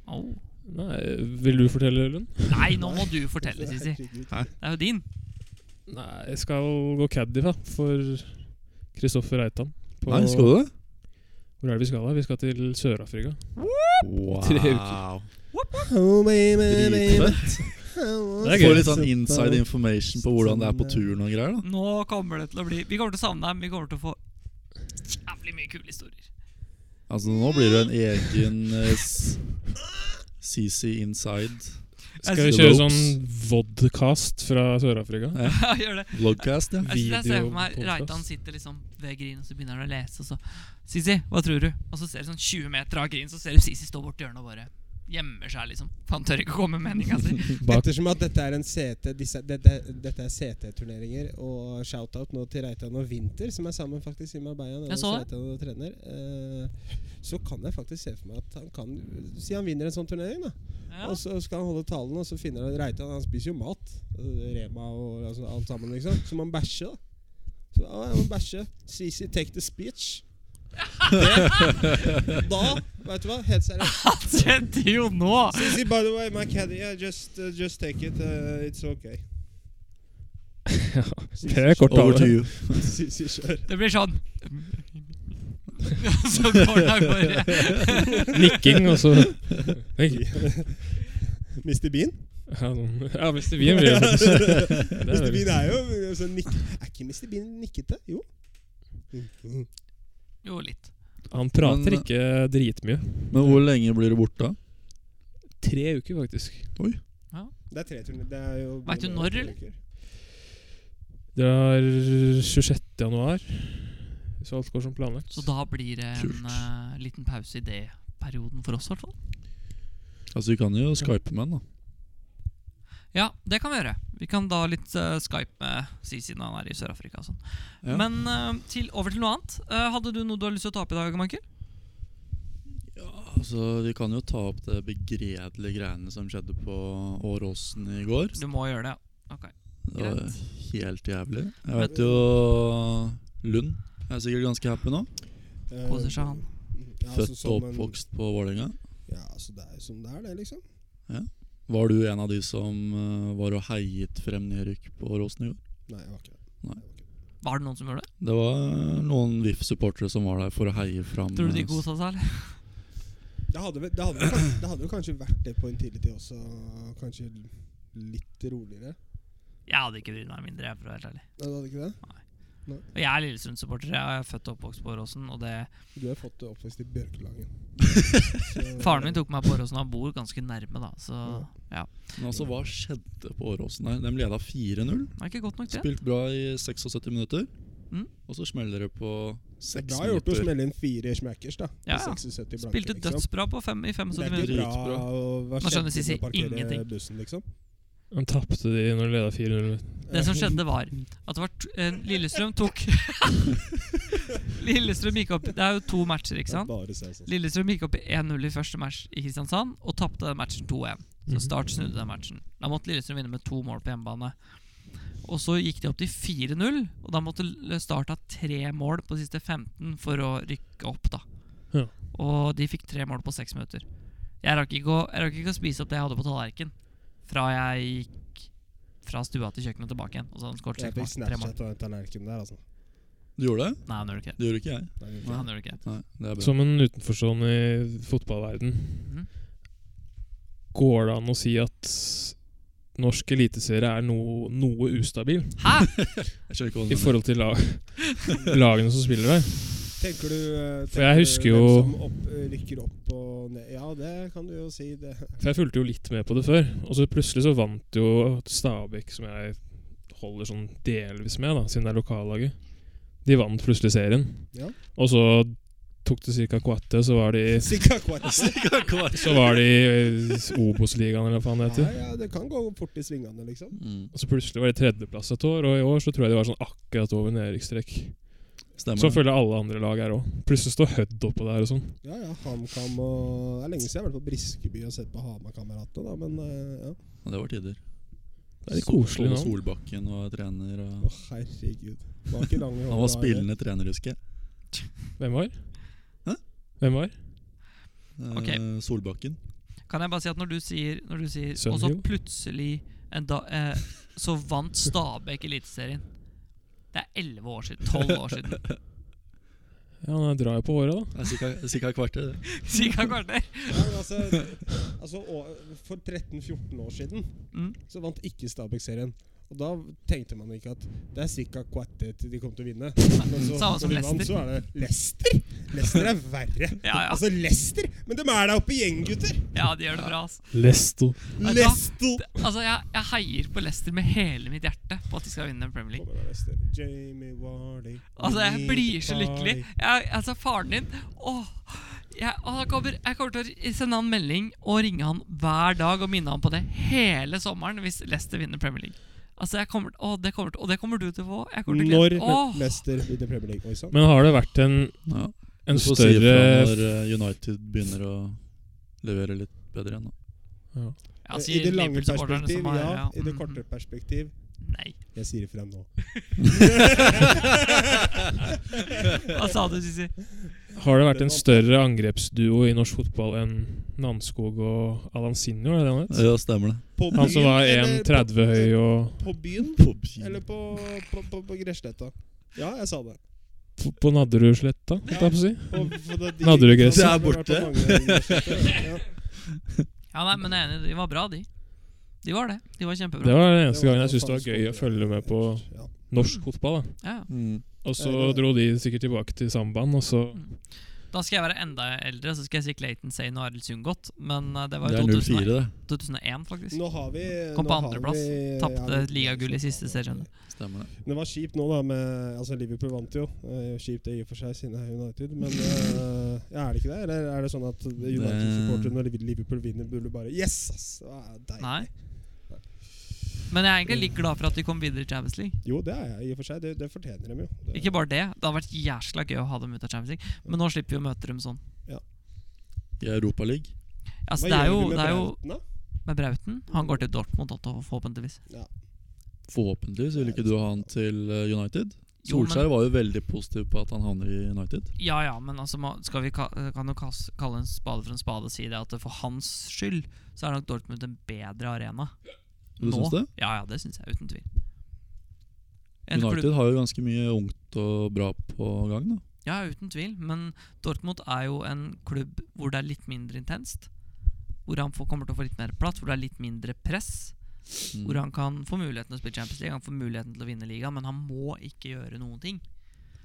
Speaker 1: Au.
Speaker 4: Nei, vil du fortelle, Lund?
Speaker 1: Nei, nå må du fortelle, Sisi.
Speaker 3: Herregud.
Speaker 1: Det er jo din.
Speaker 4: Nei, jeg skal gå caddy, da, for Kristoffer Reitan. på-
Speaker 2: Nei, skal du det?
Speaker 4: Hvor er det vi skal, da? Vi skal til Sør-Afrika.
Speaker 2: Wow.
Speaker 4: Tre uker.
Speaker 3: Oh, baby, baby.
Speaker 2: Dritfett.
Speaker 3: Oh,
Speaker 4: Det er gøy.
Speaker 2: Får litt sånn inside information på hvordan det er på turen og greier. da
Speaker 1: Nå kommer det til å bli Vi kommer til å savne dem. Vi kommer til å få jævlig mye kule historier. (laughs)
Speaker 2: Altså Nå blir det en egen eh, s- CC Inside
Speaker 4: Skal vi
Speaker 2: The
Speaker 4: kjøre
Speaker 2: ropes.
Speaker 4: sånn vodcast fra Sør-Afrika?
Speaker 1: Ja, Gjør det.
Speaker 2: vlogcast. ja
Speaker 1: Jeg synes jeg ser for meg
Speaker 4: Videopodcast.
Speaker 1: Reitan sitter liksom ved Grin, og så begynner han å lese, og så Sisi, hva tror du? Og så ser du sånn 20 meter av Grin, så ser du Sisi stå borti hjørnet og bare gjemmer seg, liksom. For han tør ikke å komme med meninga si.
Speaker 3: (laughs)
Speaker 4: Bak
Speaker 3: Ettersom at dette er en CT disse, dette, dette er CT-turneringer, og shout-out nå til Reitan og Winter, som er sammen faktisk i Marbella. nå,
Speaker 1: Jeg så det.
Speaker 3: Reitan og trener eh, Så kan jeg faktisk se for meg at han kan Si han vinner en sånn turnering, da.
Speaker 1: Ja.
Speaker 3: Og så skal han holde talen, og så finner han Reitan Han spiser jo mat. eh, Rema og altså, alt sammen, liksom. Så må han bæsje, da. Så ja, jeg må bæsje. Sisi, take the speech. Det, da, vet du hva, helt seriøst
Speaker 1: Han skjedde jo nå!
Speaker 3: Sissy, by the way, my caddy, I just, uh, just take it. Uh, it's okay.
Speaker 4: (laughs) Det er kort
Speaker 2: Over to
Speaker 4: tale.
Speaker 2: you.
Speaker 3: Sissy, kjør.
Speaker 1: Det blir sånn (laughs) Så går det av gårde.
Speaker 4: (laughs) Nikking, og så Nei,
Speaker 3: (laughs) Mr. Bean?
Speaker 4: Ja, sånn. ja hvis det
Speaker 3: (laughs)
Speaker 4: blir en video, faktisk. (laughs)
Speaker 3: Mr.
Speaker 4: Det er
Speaker 3: Bean
Speaker 4: veldig-
Speaker 3: er jo altså, nikk Er ikke Mr. Bean nikkete? Jo.
Speaker 1: Jo, litt.
Speaker 4: Han prater
Speaker 2: Men-
Speaker 4: ikke dritmye.
Speaker 2: Men hvor lenge blir du borte?
Speaker 4: Tre uker, faktisk.
Speaker 3: Det er tre turner. Det er jo
Speaker 1: Vet du når, eller?
Speaker 4: Det er 26. januar, hvis alt går som planlagt.
Speaker 1: Så da blir det en
Speaker 2: Kult.
Speaker 1: eh, liten pause i det perioden for oss, i hvert fall.
Speaker 2: Altså Vi kan jo skype med han, da.
Speaker 1: Ja, det kan vi gjøre. Vi kan da litt eh, Skype med Si siden han er i Sør-Afrika og sånn.
Speaker 2: Ja.
Speaker 1: Men eh, til, over til noe annet. Eh, hadde du noe du har lyst til å ta opp i dag, Michael?
Speaker 2: Altså Vi kan jo ta opp det begredelige greiene som skjedde på Åråsen i går.
Speaker 1: Du må gjøre det, ja. Ok.
Speaker 2: Det var
Speaker 1: Greit.
Speaker 2: helt jævlig. Jeg vet jo Lund er sikkert ganske happy nå.
Speaker 3: Eh,
Speaker 1: Koser seg, han.
Speaker 3: altså
Speaker 2: Født og oppvokst på Vålerenga.
Speaker 3: Ja, altså, det er jo som det er, det, liksom.
Speaker 2: Var du en av de som eh, var og heiet frem nedrykk på Åråsen i går?
Speaker 3: Nei, jeg var ikke det.
Speaker 2: Nei.
Speaker 1: Var det noen som gjorde det?
Speaker 2: Det var noen VIF-supportere som var der for å heie fram
Speaker 1: Tror du de
Speaker 2: eh,
Speaker 1: kosa seg, eller?
Speaker 3: Det hadde, vel- det, hadde, vel kanskje- det hadde jo kanskje vært det på en tidlig tid også. Kanskje litt roligere.
Speaker 1: Jeg hadde ikke brydd meg mindre, jeg, for å være helt ærlig.
Speaker 3: Nei, det hadde ikke det?
Speaker 1: Og Jeg er Lillesund-supporter. Jeg er født og oppvokst på Åråsen, og det
Speaker 3: Du har fått oppvekst i Bjørkelangen. Så-
Speaker 1: (laughs) Faren min tok meg på Åråsen, og han bor ganske nærme, da, så ja.
Speaker 2: Men altså, hva skjedde på Åråsen der? De leda 4-0.
Speaker 1: Det er ikke godt nok, det.
Speaker 2: Spilt bra i 76 minutter.
Speaker 1: Mm.
Speaker 2: Og så smeller det på
Speaker 3: Det er
Speaker 2: 6
Speaker 3: bra gjort å
Speaker 2: minutter.
Speaker 3: smelle inn fire smackers, da.
Speaker 1: Ja, ja.
Speaker 3: ja. 76 blanke,
Speaker 1: Spilte
Speaker 3: liksom.
Speaker 1: dødsbra på fem, i 75
Speaker 3: Det er
Speaker 1: minutter.
Speaker 3: ikke bra
Speaker 2: Dritbra.
Speaker 3: å være
Speaker 1: Nå skjønner
Speaker 3: kjent
Speaker 1: Sissi
Speaker 3: å parkere
Speaker 1: ingenting.
Speaker 3: bussen, liksom.
Speaker 4: Han tapte de når de leda 400.
Speaker 1: Det som
Speaker 3: (laughs)
Speaker 1: skjedde, var at det var t eh, Lillestrøm tok (laughs) Lillestrøm gikk opp Det er jo to matcher, ikke sant?
Speaker 3: Bare se sånn.
Speaker 1: Lillestrøm gikk opp i 1-0 i første match i Kristiansand og tapte den matchen 2-1.
Speaker 3: Mhm.
Speaker 1: Så Start snudde den matchen. Da måtte Lillestrøm vinne med to mål på hjemmebane. Og så gikk de opp til 4-0, og da måtte L- Start ha tre mål på siste 15 for å rykke opp, da.
Speaker 4: Ja.
Speaker 1: Og de fikk tre mål på seks minutter. Jeg rakk ikke, å- jeg rakk ikke å spise opp det jeg hadde på tallerkenen fra jeg gikk fra stua til kjøkkenet og tilbake igjen. Og så hadde han skåret
Speaker 3: Jeg
Speaker 1: seks
Speaker 3: fikk
Speaker 1: mål. Tre mål.
Speaker 3: Snapchat av den tallerkenen der, altså.
Speaker 2: Du gjorde det?
Speaker 1: Nei, han gjør ikke det.
Speaker 2: Det gjorde ikke jeg.
Speaker 3: Det er jo-
Speaker 2: Nei.
Speaker 1: Han gjør ikke det.
Speaker 2: Nei, det er bra.
Speaker 4: Som en utenforstående i fotballverden
Speaker 1: Mhm.
Speaker 4: Går det an å si at norsk eliteserie er noe, noe ustabil
Speaker 1: Hæ?!
Speaker 2: Jeg skjønner ikke hva du
Speaker 4: i
Speaker 2: mener.
Speaker 4: forhold til la lagene som spiller der?
Speaker 3: Tenker
Speaker 2: (laughs)
Speaker 3: du eh,
Speaker 4: For jeg
Speaker 3: tenker
Speaker 4: husker
Speaker 3: du
Speaker 4: jo-
Speaker 3: hvem som opp, eh, rykker opp og ned Ja, det kan du jo si. Det. (laughs)
Speaker 4: For jeg fulgte jo litt med på det før, og så plutselig så vant jo Stabæk, som jeg holder sånn delvis med, da, siden det er lokallaget. De vant plutselig serien.
Speaker 3: Ja.
Speaker 4: Og så tok det ca. kvarte, så var de
Speaker 3: Sikka
Speaker 4: Sånn
Speaker 3: kvart.
Speaker 4: Så var de i Obos-ligaen, eller hva faen det heter.
Speaker 3: Ja, ja, det kan gå fort i svingene, liksom.
Speaker 2: Mm.
Speaker 4: Og så plutselig var de tredjeplass et år, og i år så tror jeg de var sånn akkurat over nedrykkstrekk.
Speaker 2: Stemmer.
Speaker 4: Sånn føler jeg alle andre lag er òg. Plutselig står Hødd oppå der og sånn.
Speaker 3: Ja, ja, HamKam og Det er lenge siden jeg har vært på Briskeby og sett på Hamar-kameratene, da, men eh, ja.
Speaker 2: Men Det var tider.
Speaker 4: Det er litt koselig
Speaker 2: Sol-
Speaker 4: navn.
Speaker 2: Solbakken var trener.
Speaker 3: Å,
Speaker 2: Og
Speaker 3: herregud. Det var ikke lange
Speaker 2: han var spillende trener, husker jeg.
Speaker 4: Hvem var?
Speaker 2: Hæ?
Speaker 4: Hvem var?
Speaker 2: Eh,
Speaker 1: Ok.
Speaker 2: Solbakken.
Speaker 1: Kan jeg bare si at når du sier, når du sier Og så
Speaker 4: Sønderjo?
Speaker 1: plutselig en da, eh, Så vant Stabæk Eliteserien. Det er elleve år siden. Tolv
Speaker 3: (laughs)
Speaker 1: år siden.
Speaker 4: Ja, han drar jo på håret, da.
Speaker 2: Det er cirka- Cirka et kvarter. det.
Speaker 1: Cirka kvarter.
Speaker 3: Ja, men altså, altså, å- for 13-14 år siden
Speaker 1: Mm.
Speaker 3: så vant ikke Stabæk-serien. Og da tenkte man ikke at det er sikkert kvartet til de kommer til å vinne. Men så,
Speaker 1: samme som
Speaker 3: når de vant,
Speaker 1: Leicester.
Speaker 3: så er det Leicester! Leicester er verre.
Speaker 1: (laughs) Ja, ja.
Speaker 3: Altså, Leicester! Men de er der oppe igjen, gutter!
Speaker 1: ja, de gjør det bra. ass.
Speaker 4: Lesto.
Speaker 1: da-
Speaker 3: Leicester!
Speaker 1: Altså, jeg, jeg heier på Leicester med hele mitt hjerte på at de skal vinne Premier League.
Speaker 3: Kommer da Leicester. Jamie Wardy
Speaker 1: Altså, jeg
Speaker 3: Lee
Speaker 1: blir så
Speaker 3: Vardy.
Speaker 1: lykkelig. Jeg, altså, faren din Åh, jeg, åh, jeg, kommer, jeg kommer til å sende han melding og ringe han hver dag og minne han på det hele sommeren hvis Leicester vinner Premier League. Altså, jeg kommer, åh, det kommer, til- og det kommer du til å få. Jeg kommer til å
Speaker 3: Når
Speaker 1: glede Åh,
Speaker 3: Leicester vinner Premier League. Oi sånn. sann.
Speaker 4: Men har det vært en,
Speaker 2: Ja.
Speaker 4: en
Speaker 2: Du får si
Speaker 4: større
Speaker 2: ifra når eh, United begynner å levere litt bedre
Speaker 1: (laughs)
Speaker 2: igjen. da.
Speaker 1: ja,
Speaker 3: I
Speaker 1: sier
Speaker 3: det lange
Speaker 1: Liverpool-supporterne
Speaker 3: perspektiv,
Speaker 1: som er-
Speaker 3: ja. I det
Speaker 1: mm,
Speaker 3: korte perspektiv
Speaker 1: Nei.
Speaker 3: Jeg sier ifra nå.
Speaker 1: Hva sa du, Sissi?
Speaker 2: eh,
Speaker 4: Har det vært en større angrepsduo i norsk fotball enn Nanskog og Alansinho? Er det han het?
Speaker 2: Ja, stemmer det.
Speaker 3: På
Speaker 4: Han som
Speaker 3: byen,
Speaker 4: var
Speaker 3: eller på-
Speaker 4: 1,30 høy og
Speaker 3: På byen? Eller
Speaker 2: Pop-
Speaker 3: på, på, på, på Gressletta? Ja, jeg sa det.
Speaker 4: på- på Nadderudsletta, holdt jeg på å si.
Speaker 3: På, på
Speaker 4: (laughs)
Speaker 3: det, de-
Speaker 4: Nadderudgress.
Speaker 3: Det
Speaker 2: Det
Speaker 3: har
Speaker 2: er borte.
Speaker 3: vært på mange
Speaker 2: (laughs)
Speaker 3: Gressletta, ja.
Speaker 1: Ja, nei, men jeg er enig, de var bra, de. De var det. De var kjempebra.
Speaker 4: Det var den
Speaker 3: Det
Speaker 4: eneste
Speaker 3: var
Speaker 4: gangen jeg syntes det var
Speaker 3: faktisk godt,
Speaker 4: gøy å
Speaker 3: ja.
Speaker 4: følge med på
Speaker 3: Ja.
Speaker 4: norsk fotball. da
Speaker 1: Ja, ja.
Speaker 2: Mm.
Speaker 3: Ja,
Speaker 4: Og
Speaker 3: det
Speaker 4: så
Speaker 3: er det.
Speaker 4: dro de sikkert tilbake til samband, og så
Speaker 1: Da skal jeg være enda eldre, så skal jeg si Clayton Sane og Arild Sundgodt. Men eh, det var
Speaker 2: Det er
Speaker 1: i
Speaker 2: 0-4,
Speaker 1: 2001,
Speaker 2: det.
Speaker 1: 2001 faktisk.
Speaker 3: Nå har vi
Speaker 1: Kom på
Speaker 3: nå har
Speaker 1: andreplass.
Speaker 3: vi-
Speaker 1: Tapte
Speaker 3: Mm. ja, vi-
Speaker 1: ligagull i siste serien.
Speaker 2: Stemmer det.
Speaker 3: Det var kjipt nå, da. Med, altså Liverpool vant jo. Eh, Kjipt det i og for seg, siden det er United.
Speaker 4: (laughs)
Speaker 3: Men eh, ja, er det ikke det? Eller er det sånn at United-supportere når Liverpool vinner, burde bare Yes! ass! Det er deilig.
Speaker 1: Nei. Men jeg er egentlig litt glad for at de kom videre i Champions League.
Speaker 3: Jo, det er jeg i og for seg. Det, det fortjener de jo. Det,
Speaker 1: Ikke bare det, det har vært jæskla gøy å ha dem ut av Champions League, men nå slipper vi å møte dem sånn.
Speaker 2: I Europaligaen.
Speaker 1: Altså,
Speaker 3: Hva
Speaker 1: det er
Speaker 3: gjør
Speaker 1: jo,
Speaker 3: vi med
Speaker 1: det er jo
Speaker 3: Brauten, da?
Speaker 1: med Brauten. Han går til Dortmund, også, forhåpentligvis.
Speaker 2: Forhåpentligvis vil ikke du ha han til eh, United.
Speaker 1: Jo, men-
Speaker 2: Solskjær var jo veldig positiv på at han havner i United.
Speaker 1: Ja ja, men altså, ma- skal vi ka kan jo kas- kalle en spade for en spade og si det at for hans skyld så er nok Dortmund en bedre arena.
Speaker 2: Du
Speaker 1: Nå?
Speaker 2: syns det?
Speaker 1: Ja ja, det syns jeg uten tvil. En klubb-
Speaker 2: United har jo ganske mye ungt og bra på gang. da
Speaker 1: Ja, uten tvil. Men Dortmund er jo en klubb hvor det er litt mindre intenst. Hvor han får, kommer til å få litt mer plass, hvor det er litt mindre press.
Speaker 2: Mm.
Speaker 1: Hvor han kan få muligheten til å spille Champions League, han får muligheten til å vinne ligaen, men han må ikke gjøre noen ting.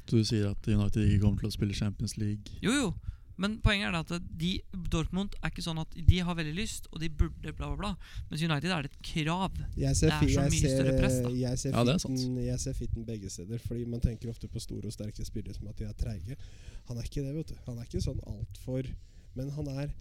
Speaker 2: Du sier at United ikke kommer til å spille Champions League.
Speaker 1: Jo, jo. Men poenget er det at de, Dortmund er ikke sånn at de har veldig lyst, og de burde bla, bla, bla. Mens United er det et krav.
Speaker 3: Jeg ser,
Speaker 1: Det er
Speaker 3: fi-
Speaker 1: så
Speaker 3: jeg
Speaker 1: mye
Speaker 3: ser,
Speaker 1: større press, da.
Speaker 3: Jeg ser,
Speaker 2: Ja, det er
Speaker 3: fitten, jeg ser fitten begge steder. Fordi Man tenker ofte på store og sterke spillere som at de er treige. Han er ikke det. vet du Han er ikke sånn altfor Men han er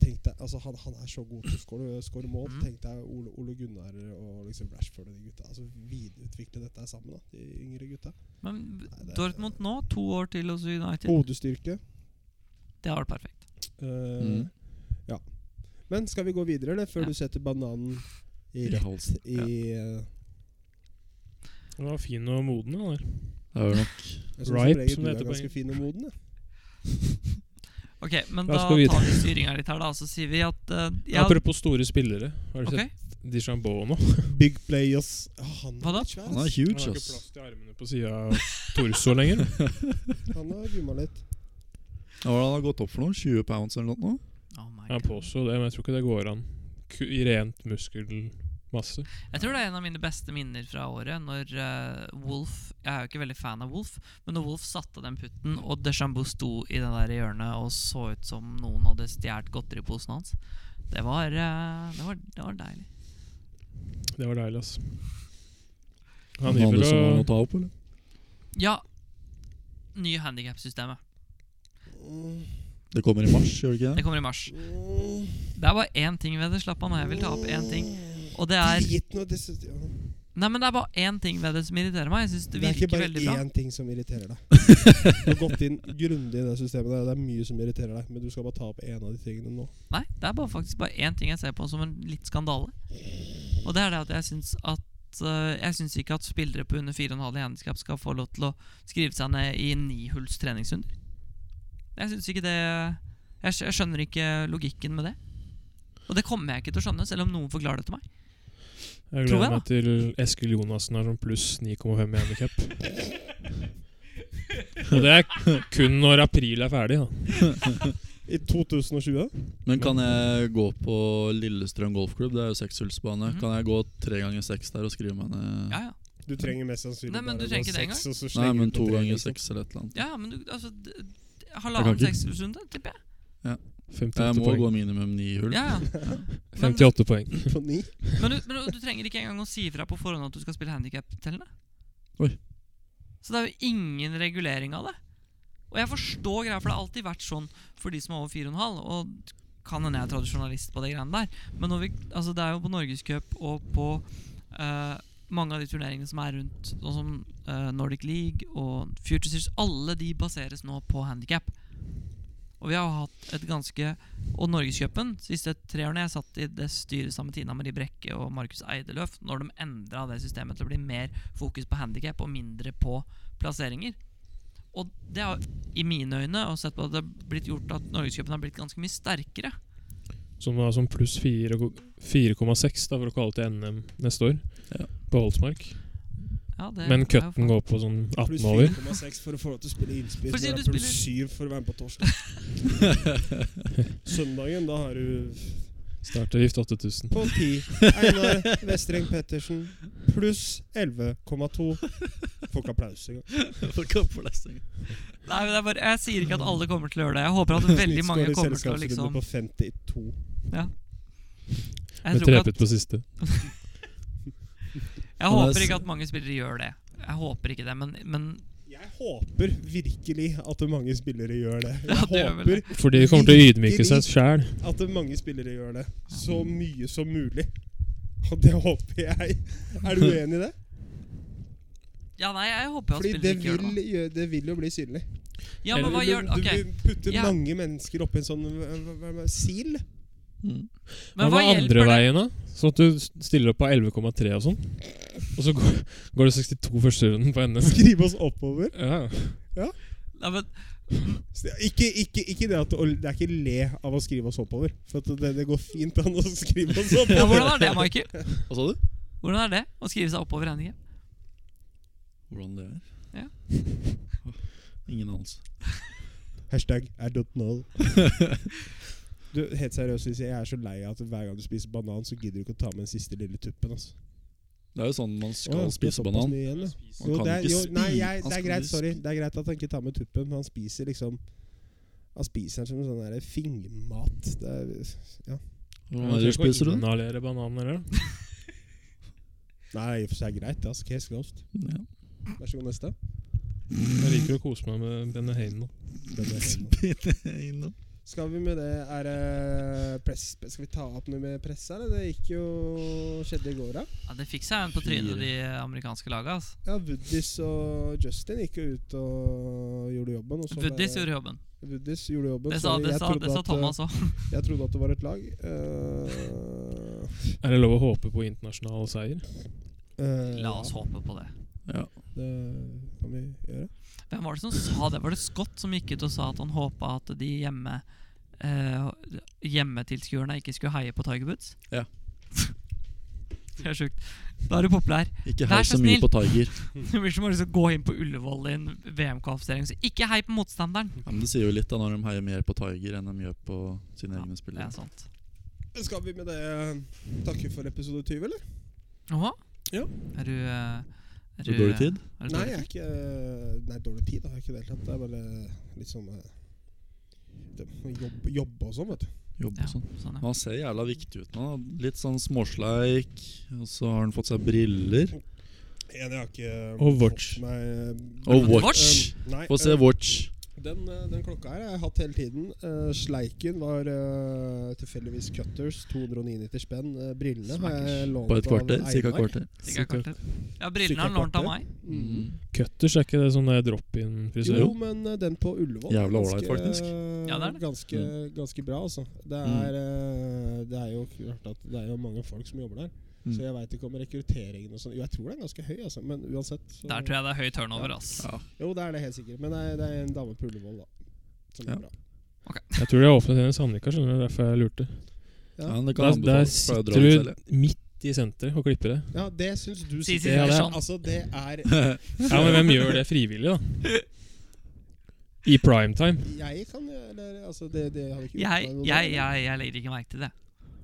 Speaker 3: tenk deg, altså han, han er så god til å score- score mål.
Speaker 1: Mhm.
Speaker 3: Tenk deg Ole, Ole Gunnar og liksom Rashford og de gutta. Altså Videreutvikle dette her sammen, da de yngre gutta.
Speaker 1: Men
Speaker 3: Nei, det er-
Speaker 1: Dortmund nå, to år til hos United,
Speaker 3: Hodestyrke.
Speaker 1: det har vært perfekt.
Speaker 3: eh,
Speaker 2: Mhm.
Speaker 3: Ja. Men skal vi gå videre, eller? Før
Speaker 1: Ja.
Speaker 3: du setter bananen i
Speaker 2: I
Speaker 3: rett
Speaker 2: halsen.
Speaker 3: i
Speaker 2: Ja.
Speaker 3: eh,
Speaker 4: Han var fin og moden. han der.
Speaker 2: Det er jo nok
Speaker 3: Jeg syns
Speaker 4: Ripe,
Speaker 3: som regel
Speaker 4: som
Speaker 3: du
Speaker 4: det
Speaker 3: er
Speaker 4: heter på
Speaker 3: ganske
Speaker 4: engelsk.
Speaker 3: fin og moden. jeg.
Speaker 1: Ok, men
Speaker 4: La
Speaker 1: da
Speaker 4: oss
Speaker 1: tar
Speaker 4: gå
Speaker 1: vi
Speaker 4: videre.
Speaker 1: styringa litt her, da. Så sier vi at eh, ja,
Speaker 4: Apropos store spillere. Har du
Speaker 1: ok.
Speaker 4: sett Dishambou nå?
Speaker 3: Big players. Ja, han
Speaker 1: Hva da?
Speaker 3: er svær,
Speaker 2: Han er
Speaker 3: ass.
Speaker 4: Han
Speaker 2: huge,
Speaker 4: har ikke
Speaker 2: ass.
Speaker 4: plass til armene på sida av torso lenger.
Speaker 3: Han har gumma litt.
Speaker 2: Hva har han har gått opp for noe? 20 pounds eller noe? nå?
Speaker 1: Oh my
Speaker 4: Jeg
Speaker 1: God.
Speaker 4: påstår det, men jeg tror ikke det går an. Ku- I rent muskelmasse.
Speaker 1: Jeg tror det er en av mine beste minner fra året. Når eh, Wolf Jeg er jo ikke veldig fan av Wolf, men når Wolf satte den putten, og Deschambeau sto i det der hjørnet og så ut som noen hadde stjålet godteriposen hans det var, eh, det, var, det var deilig.
Speaker 4: Det var deilig, ass. Han
Speaker 2: Han andre
Speaker 4: driver
Speaker 2: som har noe å
Speaker 4: og
Speaker 2: ta opp, eller?
Speaker 1: Ja. Nye handikapsystemet.
Speaker 2: Det kommer i mars, gjør det ikke
Speaker 1: Det
Speaker 2: det?
Speaker 1: kommer i mars. Det er bare én ting ved det. Slapp av nå, jeg vil ta opp én ting. Og det er
Speaker 3: Drit nå, det synes jeg.
Speaker 1: Nei, men det er bare én ting ved det som irriterer meg. Jeg synes det
Speaker 3: Det er
Speaker 1: virker
Speaker 3: ikke bare
Speaker 1: veldig bra.
Speaker 3: én ting som irriterer
Speaker 1: (laughs)
Speaker 3: deg. Du har gått inn grundig i det systemet der, og det er mye som irriterer deg, men du skal bare ta opp én av de tingene nå.
Speaker 1: Nei, det er bare faktisk bare én ting jeg ser på som en litt skandale. Og det er det at jeg syns at eh, Jeg syns ikke at spillere på under 4,5 i handikap skal få lov til å skrive seg ned i nihulls treningshunder. Jeg syns ikke det jeg, skj- jeg skjønner ikke logikken med det. Og det kommer jeg ikke til å skjønne, selv om noen forklarer det til meg.
Speaker 4: Jeg
Speaker 1: Tror jeg,
Speaker 4: gleder meg til Eskil Jonassen har sånn pluss 9,5
Speaker 1: (laughs)
Speaker 4: i handikap. Og det er kun når april er ferdig, da.
Speaker 3: I 2020
Speaker 2: Men kan jeg gå på Lillestrøm golfklubb? Det er jo sekshullsbane.
Speaker 1: Mhm.
Speaker 2: Kan jeg gå tre ganger seks der og skrive meg ned
Speaker 1: Ja, ja.
Speaker 3: Du trenger mest sannsynlig
Speaker 1: Nei, men du
Speaker 3: bare
Speaker 1: trenger
Speaker 3: gå
Speaker 1: ikke det
Speaker 3: seks, og så
Speaker 2: Nei,
Speaker 3: slenger
Speaker 2: men
Speaker 3: du på
Speaker 2: to
Speaker 3: tre,
Speaker 2: ganger
Speaker 3: liksom.
Speaker 2: seks eller et eller annet.
Speaker 1: ja ja, men du, altså d- d-
Speaker 2: Jeg
Speaker 1: Halvannen
Speaker 2: kan ikke-
Speaker 1: sekshundreshunde, tipper jeg.
Speaker 4: 58
Speaker 2: Jeg må
Speaker 4: poeng.
Speaker 2: gå minimum ni hull.
Speaker 1: Ja, ja. Men,
Speaker 4: 58 poeng.
Speaker 3: (laughs) På ni?
Speaker 1: men, du, men du- du trenger ikke engang å si ifra på forhånd at du skal spille handikap-tellende.
Speaker 2: Oi.
Speaker 1: Så det er jo ingen regulering av det. Og jeg forstår greia, for det har alltid vært sånn for de som er over 4,5. Og kan hende jeg er tradisjonalist på de greiene der, men når vi, altså det er jo på Norgescup og på eh, mange av de turneringene som er rundt, sånn som eh, Nordic League og Future Series, alle de baseres nå på handikap. Og vi har jo hatt et ganske og Norgescupen, de siste tre årene jeg satt i det styret sammen med Tina Marie Brekke og Markus Eideløf, når de endra det systemet til å bli mer fokus på handikap og mindre på plasseringer. Og det har i mine øyne og sett på at det har blitt gjort at Norgescupen har blitt ganske mye sterkere.
Speaker 4: Som var sånn pluss 4 og- 4,6 da for å kvalle til NM neste år.
Speaker 2: Ja.
Speaker 4: På Holsmark.
Speaker 1: Ja, det
Speaker 4: Men
Speaker 1: er jo
Speaker 4: cutten går på sånn 18
Speaker 3: Pluss
Speaker 4: over.
Speaker 3: 4,6 for å få lov til å spille innspill.
Speaker 1: For si
Speaker 3: så er
Speaker 1: du
Speaker 3: det Pluss 7
Speaker 1: spiller-
Speaker 3: for å være med på
Speaker 2: (laughs)
Speaker 3: torsdag. Søndagen, da har du
Speaker 4: Starter gift 8000.
Speaker 3: på 10. Einar Vestreng Pettersen pluss 11,2. Får ikke applaus engang.
Speaker 2: (laughs) For kapplesning.
Speaker 1: Nei, men det er bare, Jeg sier ikke at alle kommer til å gjøre det. Jeg
Speaker 4: (laughs)
Speaker 1: håper at veldig mange
Speaker 3: Snittskår i
Speaker 1: kommer til å
Speaker 3: selskapsrunde
Speaker 1: liksom
Speaker 3: på 52.
Speaker 1: Jeg,
Speaker 4: Med
Speaker 1: tror ikke
Speaker 4: trepet
Speaker 1: at,
Speaker 4: på siste.
Speaker 1: jeg håper ikke at mange spillere gjør det. Jeg håper ikke det, men, men
Speaker 3: Jeg håper virkelig at mange spillere gjør det.
Speaker 1: Ja,
Speaker 3: Jeg
Speaker 1: det gjør vel
Speaker 3: håper
Speaker 4: For de kommer til å ydmyke seg sjæl.
Speaker 3: at mange spillere gjør det så mye som mulig. Og det håper jeg.
Speaker 1: (laughs)
Speaker 3: Er du uenig i det?
Speaker 1: Ja, nei, jeg håper jo at
Speaker 3: Fordi det
Speaker 1: spillere ikke gjør det.
Speaker 3: vil, gjø- det vil jo bli synlig.
Speaker 1: da. Ja, men hva
Speaker 3: Du-
Speaker 1: gjør
Speaker 3: Du
Speaker 1: Ok,
Speaker 3: vil putte
Speaker 1: Ja.
Speaker 3: mange mennesker oppi en sånn hva- hva- hva- hva- sil.
Speaker 2: Mm.
Speaker 4: Hva
Speaker 1: men hva
Speaker 4: med andre
Speaker 1: hjelper det?
Speaker 4: veien, da? Sånn at du stiller opp på 11,3 og sånn. Og så går, går du 62 første runden på NM.
Speaker 3: Skrive oss oppover.
Speaker 4: Ja.
Speaker 1: Nei, men
Speaker 3: Så det- Ikke, ikke, ikke det at å- Det er ikke le av å skrive oss oppover. For at det, det går fint an å skrive oss
Speaker 1: (laughs) Ja, hvordan
Speaker 3: oppover. (laughs)
Speaker 1: er det, Michael?
Speaker 2: Hva sa du?
Speaker 1: Hvordan er det å skrive seg oppover handicap?
Speaker 2: Hvordan det er?
Speaker 1: Ja.
Speaker 2: (laughs) Ingen anelse.
Speaker 3: Hashtag I don't
Speaker 1: (laughs)
Speaker 3: know. Du, helt seriøst, Lise, jeg er så lei av at hver gang du spiser banan, så gidder du ikke å ta med den siste lille tuppen. Altså.
Speaker 2: Det er jo sånn man skal
Speaker 3: Å, det er
Speaker 2: spise
Speaker 3: såpass
Speaker 2: banan.
Speaker 3: mye igjen, ja.
Speaker 2: Man
Speaker 3: Jo,
Speaker 2: kan
Speaker 3: det er,
Speaker 2: ikke
Speaker 3: jo, nei,
Speaker 2: spi-
Speaker 3: jeg,
Speaker 2: man
Speaker 3: det er
Speaker 2: skal
Speaker 3: greit,
Speaker 2: jo
Speaker 3: sorry. Det er greit at han ikke tar med tuppen, men han spiser liksom Han spiser den som sånn der fingermat. Det er, ja.
Speaker 2: spi- Hva er det du spiser du?
Speaker 4: Inhalere bananer, da.
Speaker 3: Nei, i og for seg er greit. Altså, case closed.
Speaker 2: Ja.
Speaker 3: Vær så god, neste.
Speaker 4: Jeg liker å kose meg med Benne Heinen.
Speaker 3: Den er fin, da.
Speaker 2: Innom.
Speaker 3: Skal vi med det Er det press Skal vi ta opp noe med press her? eller? Det gikk jo Skjedde i går, da.
Speaker 1: Ja, det fikk seg en på trynet, de amerikanske laga. altså. ass.
Speaker 3: Ja, Woodies og Justin gikk jo ut og gjorde jobben. Og så
Speaker 1: Woodies
Speaker 3: bare-
Speaker 1: gjorde jobben.
Speaker 3: Woodies gjorde jobben.
Speaker 1: Det
Speaker 3: så
Speaker 1: sa, det
Speaker 3: Sånn jeg
Speaker 1: sa,
Speaker 3: trodde
Speaker 1: det sa
Speaker 3: at,
Speaker 1: Thomas òg.
Speaker 3: eh, Jeg trodde at det var et lag. Eh,
Speaker 4: Er det lov å håpe på internasjonal seier?
Speaker 3: eh,
Speaker 1: La oss håpe på det.
Speaker 2: Ja.
Speaker 3: Ja, det kan vi gjøre.
Speaker 1: Hvem var det som sa det? Var det Scott som gikk ut og sa at han håpa at de hjemme eh, hjemmetilskuerne ikke skulle heie på Tiger Woods?
Speaker 2: Ja.
Speaker 1: (laughs) det er sjukt. Da er du populær.
Speaker 2: Ikke
Speaker 1: Vær
Speaker 2: hei
Speaker 1: så
Speaker 2: så mye
Speaker 1: snill.
Speaker 2: på Tiger.
Speaker 1: Det blir som å liksom gå inn på Ullevål i en VM-kvalifisering og si 'ikke hei på motstanderen'.
Speaker 2: Ja, men det sier jo litt da når de heier mer på Tiger enn de gjør på sine
Speaker 1: Ja,
Speaker 2: egne
Speaker 1: Det
Speaker 2: spillere.
Speaker 1: er sant.
Speaker 3: Skal vi med det eh, takke for episode 20, eller?
Speaker 1: Åhå?
Speaker 3: Ja.
Speaker 1: Er du eh, er
Speaker 2: Så dårlig tid?
Speaker 1: Er du
Speaker 3: Nei,
Speaker 1: dårlig
Speaker 3: jeg er
Speaker 1: tid?
Speaker 3: ikke eh, Nei, dårlig tid da, jeg har ikke deltatt. Det er bare litt sånn eh, det- jobb, Jobbe og sånn, vet du.
Speaker 2: Jobb
Speaker 1: Ja,
Speaker 2: og sånn.
Speaker 1: sånn, ja.
Speaker 2: Han ser jævla viktig ut nå. da. Litt sånn småsleik, og så har han fått seg briller.
Speaker 3: En jeg har ikke eh,
Speaker 4: Og watch.
Speaker 3: fått meg
Speaker 2: Og
Speaker 1: Men
Speaker 2: watch.
Speaker 1: watch?
Speaker 3: Eh, nei,
Speaker 2: Få se
Speaker 3: eh,
Speaker 2: watch.
Speaker 3: Den, eh, den klokka her har jeg hatt hele tiden. Eh, sleiken var eh, tilfeldigvis Cutters, 299 spenn. Eh, brillene har jeg lånt
Speaker 2: På et kvarter?
Speaker 3: av
Speaker 2: Cirka
Speaker 3: Einar.
Speaker 2: et kvarter?
Speaker 1: Sikkert kvarter. Ja, brillene har han lånt av meg.
Speaker 3: Mm.
Speaker 4: Cutters, er ikke det sånn der drop-in-frisør?
Speaker 3: Jo, men eh, den på Ullevål er
Speaker 2: Jævla ålreit,
Speaker 3: ganske- eh,
Speaker 2: faktisk. Mm.
Speaker 1: Ja, det er det.
Speaker 3: Ganske, ganske bra, altså. Det er, eh, det er jo klart at det er jo mange folk som jobber der.
Speaker 2: Mm.
Speaker 3: Så jeg veit ikke om rekrutteringen og sånn Jo, jeg tror den er ganske høy, altså. Men uansett. Så,
Speaker 1: Der tror jeg det er høy turnover, ass.
Speaker 2: Ja.
Speaker 3: Jo, det er det helt sikkert. Men det er, det er en dame på Ullevål, da. Som
Speaker 2: Ja.
Speaker 3: er bra.
Speaker 4: Jeg tror de har åpnet en i Sandvika, skjønner du. Derfor jeg lurte.
Speaker 2: Ja, men det kan
Speaker 4: Der, der
Speaker 2: anbefales, for jeg drar
Speaker 4: sitter
Speaker 2: ut
Speaker 4: du
Speaker 2: selv,
Speaker 4: midt i senteret og klipper (laughs) det.
Speaker 3: Ja, det syns du
Speaker 1: Si, si,
Speaker 3: sikkert er
Speaker 4: si,
Speaker 3: bra.
Speaker 1: sånn.
Speaker 3: Altså, det
Speaker 2: (laughs)
Speaker 3: er
Speaker 2: jeg.
Speaker 4: Ja, Men hvem gjør det frivillig, da? I primetime.
Speaker 3: Jeg kan gjøre det. Altså, det, det hadde ikke
Speaker 1: Jeg,
Speaker 3: gjort meg noe
Speaker 1: jeg,
Speaker 3: dårlig.
Speaker 1: jeg, jeg legger ikke merke til det.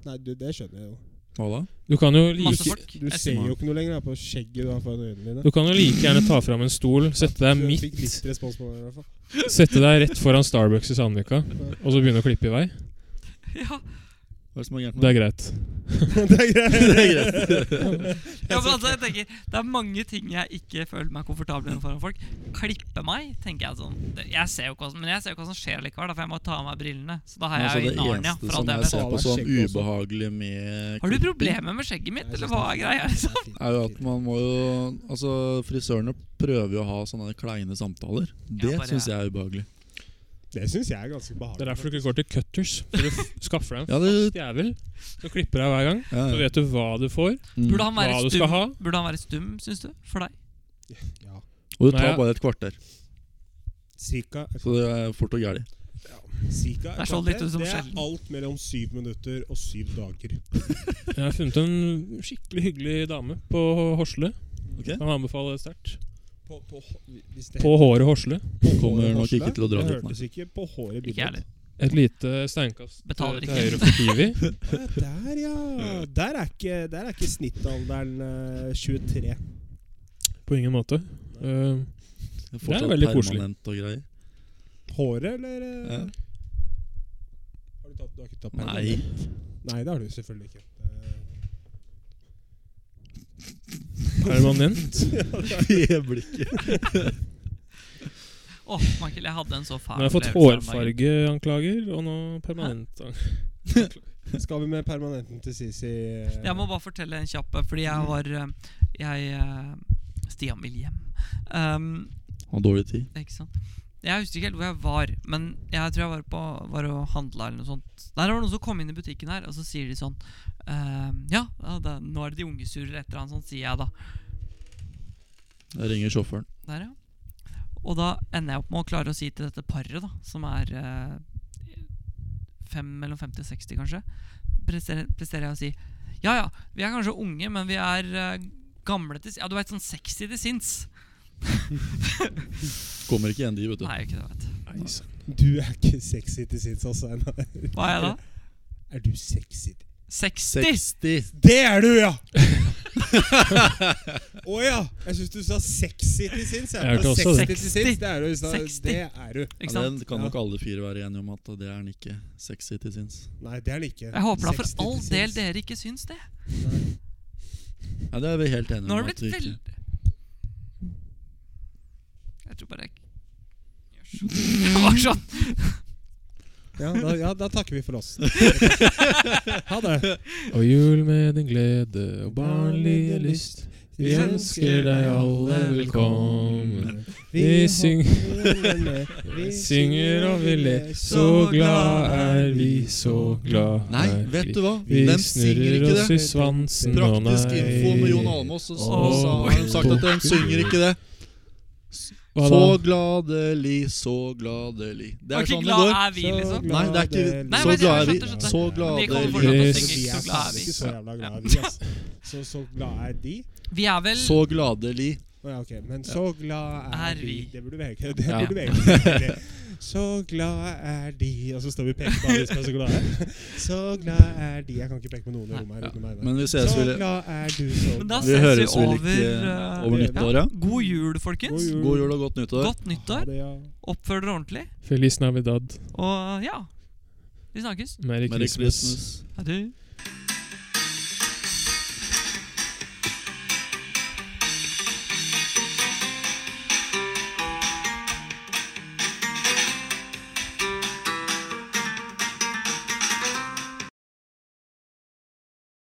Speaker 3: Nei, du, det skjønner jeg jo.
Speaker 2: Hva da?
Speaker 4: Du kan jo
Speaker 1: Masse
Speaker 4: like,
Speaker 1: folk.
Speaker 3: Du
Speaker 1: Jeg
Speaker 3: ser
Speaker 1: ser-
Speaker 3: jo ikke noe lenger da, på skjegget du har foran øynene dine.
Speaker 4: du kan jo like gjerne ta fram en stol, sette
Speaker 3: Så
Speaker 4: deg
Speaker 3: jeg Fikk
Speaker 4: midt
Speaker 3: litt respons på det, i hvert
Speaker 1: (laughs)
Speaker 3: fall.
Speaker 4: Sette deg rett foran Starbucks i Sandvika, og så begynne å klippe i vei.
Speaker 1: (laughs) Ja,
Speaker 2: Hva er det som er gærent
Speaker 1: (laughs)
Speaker 4: Det
Speaker 2: med
Speaker 4: er greit.
Speaker 3: det er greit.
Speaker 2: det? er greit.
Speaker 1: ja men altså, jeg tenker Det er mange ting jeg ikke føler meg komfortabel med foran folk. Klippe meg, tenker jeg sånn. Det- Jeg ser jo ikke hva som, men jeg ser jo ikke hva som skjer likevel, da, for jeg må ta av meg brillene. Så da har
Speaker 2: Altså,
Speaker 1: jeg jo
Speaker 2: det
Speaker 1: i Narnia.
Speaker 2: eneste
Speaker 1: For alt
Speaker 2: som
Speaker 1: jeg
Speaker 2: jeg
Speaker 1: vet.
Speaker 2: ser på
Speaker 3: Alle
Speaker 2: som
Speaker 3: skjegg også.
Speaker 2: ubehagelig med
Speaker 1: Har du problemer med skjegget mitt, eller hva er greia? liksom?
Speaker 2: er jo at man må jo Altså, frisørene prøver jo å ha sånne kleine samtaler. Det
Speaker 1: Ja, bare-
Speaker 2: syns jeg er ubehagelig.
Speaker 3: Det syns jeg er ganske
Speaker 4: Det er
Speaker 3: behagelig.
Speaker 4: derfor du ikke går til cutters. For du f- skaffer (laughs) deg en
Speaker 2: Ja, det,
Speaker 4: fast jævel. Du klipper deg hver gang.
Speaker 2: ja,
Speaker 4: Så
Speaker 2: ja.
Speaker 4: vet du hva du får.
Speaker 2: Mm.
Speaker 1: Burde han være
Speaker 4: Hva du skal
Speaker 1: stum,
Speaker 4: ha?
Speaker 1: Burde han være stum, syns du? For deg?
Speaker 3: Ja.
Speaker 2: Og det
Speaker 4: Nei,
Speaker 2: tar
Speaker 4: ja.
Speaker 2: bare et kvarter,
Speaker 3: Cirka,
Speaker 2: så det er fort og gæli.
Speaker 3: cirka
Speaker 1: Det er så litt ut som
Speaker 3: Det er
Speaker 1: sjelden.
Speaker 3: alt mellom syv minutter og syv dager.
Speaker 4: Jeg har funnet en skikkelig hyggelig dame på Horsle.
Speaker 2: Ok.
Speaker 4: Kan anbefale det sterkt.
Speaker 3: På, på, hvis det
Speaker 4: På håret Horsle.
Speaker 3: på
Speaker 2: Kommer
Speaker 3: håret
Speaker 2: nok
Speaker 3: Horsle.
Speaker 2: ikke til å dra
Speaker 3: Det
Speaker 2: dit, nei.
Speaker 3: hørtes ikke på håret
Speaker 1: Ikke jeg heller.
Speaker 4: Et lite steinkast
Speaker 1: Betaler
Speaker 4: til
Speaker 1: ikke.
Speaker 4: høyre for
Speaker 2: (laughs)
Speaker 4: Kiwi.
Speaker 3: Ja, Der, ja. Der er ikke, der er ikke snittalderen eh, 23.
Speaker 4: På ingen måte. Eh,
Speaker 2: Det er
Speaker 4: Det er
Speaker 2: fortsatt
Speaker 4: veldig koselig.
Speaker 2: permanent og greier.
Speaker 3: Håret, eller? eh? (laughs)
Speaker 2: Ja.
Speaker 3: Har du, tatt, du har ikke tatt
Speaker 2: Nei.
Speaker 3: permanent? Nei, det har du selvfølgelig ikke. Eh,
Speaker 4: permanent.
Speaker 2: Det blikket.
Speaker 1: Åh, Michael, jeg hadde en så fæl
Speaker 4: Nå har jeg fått
Speaker 1: opplevelse her om dagen.
Speaker 4: hårfargeanklager, og nå permanent.
Speaker 3: Eh, Skal vi med permanenten til Sisi? eh?
Speaker 1: Jeg må bare fortelle en kjapp eh, Fordi jeg var eh, Jeg eh, Stian vil hjem. Um,
Speaker 2: Har dårlig tid.
Speaker 1: ikke sant? Jeg husker ikke helt hvor jeg var, men jeg tror jeg var, på, var og handla eller noe sånt. Nei, det var noen som kom inn i butikken her, og så sier de sånn ehm, Ja, ja, det, nå er det de unge surrer etter han, sånn sier jeg da.
Speaker 2: Jeg ringer sjåføren.
Speaker 1: Der, ja. Og da ender jeg opp med å klare å si til dette paret, da, som er eh, fem, mellom 50 og 60 kanskje, presterer, presterer jeg å si Ja ja, vi er kanskje unge, men vi er eh, gamle til s- Ja, du veit, sånn sexy til sinns.
Speaker 2: Kommer ikke igjen, de, vet du.
Speaker 1: Nei, jeg er ikke det, vet du.
Speaker 4: Nei, sant.
Speaker 3: Du er ikke sexy til sinns, altså. Einar.
Speaker 1: Hva er jeg da?
Speaker 3: Er du sexy? til-
Speaker 1: 60!
Speaker 2: 60!
Speaker 3: Det er du, ja! Å ja! Jeg syns du sa sexy til sinns.
Speaker 4: Jeg hørte også
Speaker 3: sexy
Speaker 1: det.
Speaker 3: til sinns, det er du. Sa,
Speaker 1: 60.
Speaker 3: det er du.
Speaker 1: Ikke
Speaker 2: Ja,
Speaker 1: sant?
Speaker 2: den kan
Speaker 3: Ja.
Speaker 2: nok alle fire være enige om at det er han ikke sexy til sinns.
Speaker 3: Nei, det er han ikke.
Speaker 1: Jeg håper da
Speaker 3: Sexy
Speaker 1: for
Speaker 3: til
Speaker 1: all
Speaker 3: sinns.
Speaker 1: del dere ikke syns det.
Speaker 3: Nei.
Speaker 2: Nei, det er vi helt enige
Speaker 1: Nå har
Speaker 2: om.
Speaker 1: det
Speaker 2: at vi
Speaker 1: blitt
Speaker 2: ikke-
Speaker 1: veldig Jeg tror bare jeg gjør sånn. Det var sånn.
Speaker 3: Ja da, ja, da takker vi for
Speaker 1: (laughs)
Speaker 3: oss. Ha det.
Speaker 4: Og jul med din glede og barnlige lyst. Vi ønsker deg alle velkommen. Vi
Speaker 3: synger
Speaker 4: Vi synger og vi ler, så glad er vi, så glad
Speaker 2: Nei,
Speaker 4: er
Speaker 2: vet du hva?
Speaker 4: Vi
Speaker 2: Hvem synger
Speaker 4: snurrer
Speaker 2: ikke
Speaker 4: oss
Speaker 2: det?
Speaker 4: i svansen, å nei.
Speaker 2: Praktisk info med Jon Almaas, og så
Speaker 1: Åh.
Speaker 2: sa- har de sagt at de synger ikke det.
Speaker 4: Hva
Speaker 2: Så
Speaker 4: da?
Speaker 2: gladelig, så gladelig. Det er
Speaker 1: Var ikke
Speaker 2: sånn det
Speaker 1: glad
Speaker 2: går.
Speaker 1: er vi, liksom.
Speaker 2: Nei, det er ikke
Speaker 1: Nei,
Speaker 2: Så
Speaker 1: men jeg
Speaker 2: glad er vi,
Speaker 1: skjønte, skjønte.
Speaker 2: så
Speaker 1: Vi
Speaker 2: glade
Speaker 1: kommer
Speaker 4: glad
Speaker 1: fortsatt til å
Speaker 4: er vi.
Speaker 1: synge
Speaker 3: Vi er
Speaker 1: 'Så glad er
Speaker 3: faktisk
Speaker 1: vi'.
Speaker 3: ikke så jævla glad er vi, ass. Så, så glad er de.
Speaker 1: Vi er vel
Speaker 2: Så gladelig.
Speaker 3: Å ja, ok. Men så glad er,
Speaker 1: Er
Speaker 3: vi
Speaker 1: vi.
Speaker 3: Det burde vi egentlig det
Speaker 2: Ja.
Speaker 3: burde vi egentlig. Så glad er de Og så står vi og peker på alle som er så glade. Så glad er de Jeg kan ikke peke på noen i rommet her uten meg. da.
Speaker 2: Men vi ses
Speaker 3: Så
Speaker 2: vel
Speaker 3: glad er du, så
Speaker 1: Men da
Speaker 3: glad.
Speaker 2: Vi
Speaker 1: ses vi
Speaker 2: høres vel
Speaker 1: over,
Speaker 2: ikke
Speaker 1: eh,
Speaker 2: over
Speaker 3: ja.
Speaker 2: nyttår, ja?
Speaker 1: God jul, folkens.
Speaker 2: God jul og godt nyttår.
Speaker 1: Godt nyttår.
Speaker 3: Ha det, ja.
Speaker 1: Oppfør dere ordentlig.
Speaker 4: Feliz Navidad.
Speaker 1: Og ja Vi snakkes.
Speaker 4: Merry
Speaker 2: Merry
Speaker 4: Christmas.
Speaker 2: Christmas.
Speaker 1: Ha det.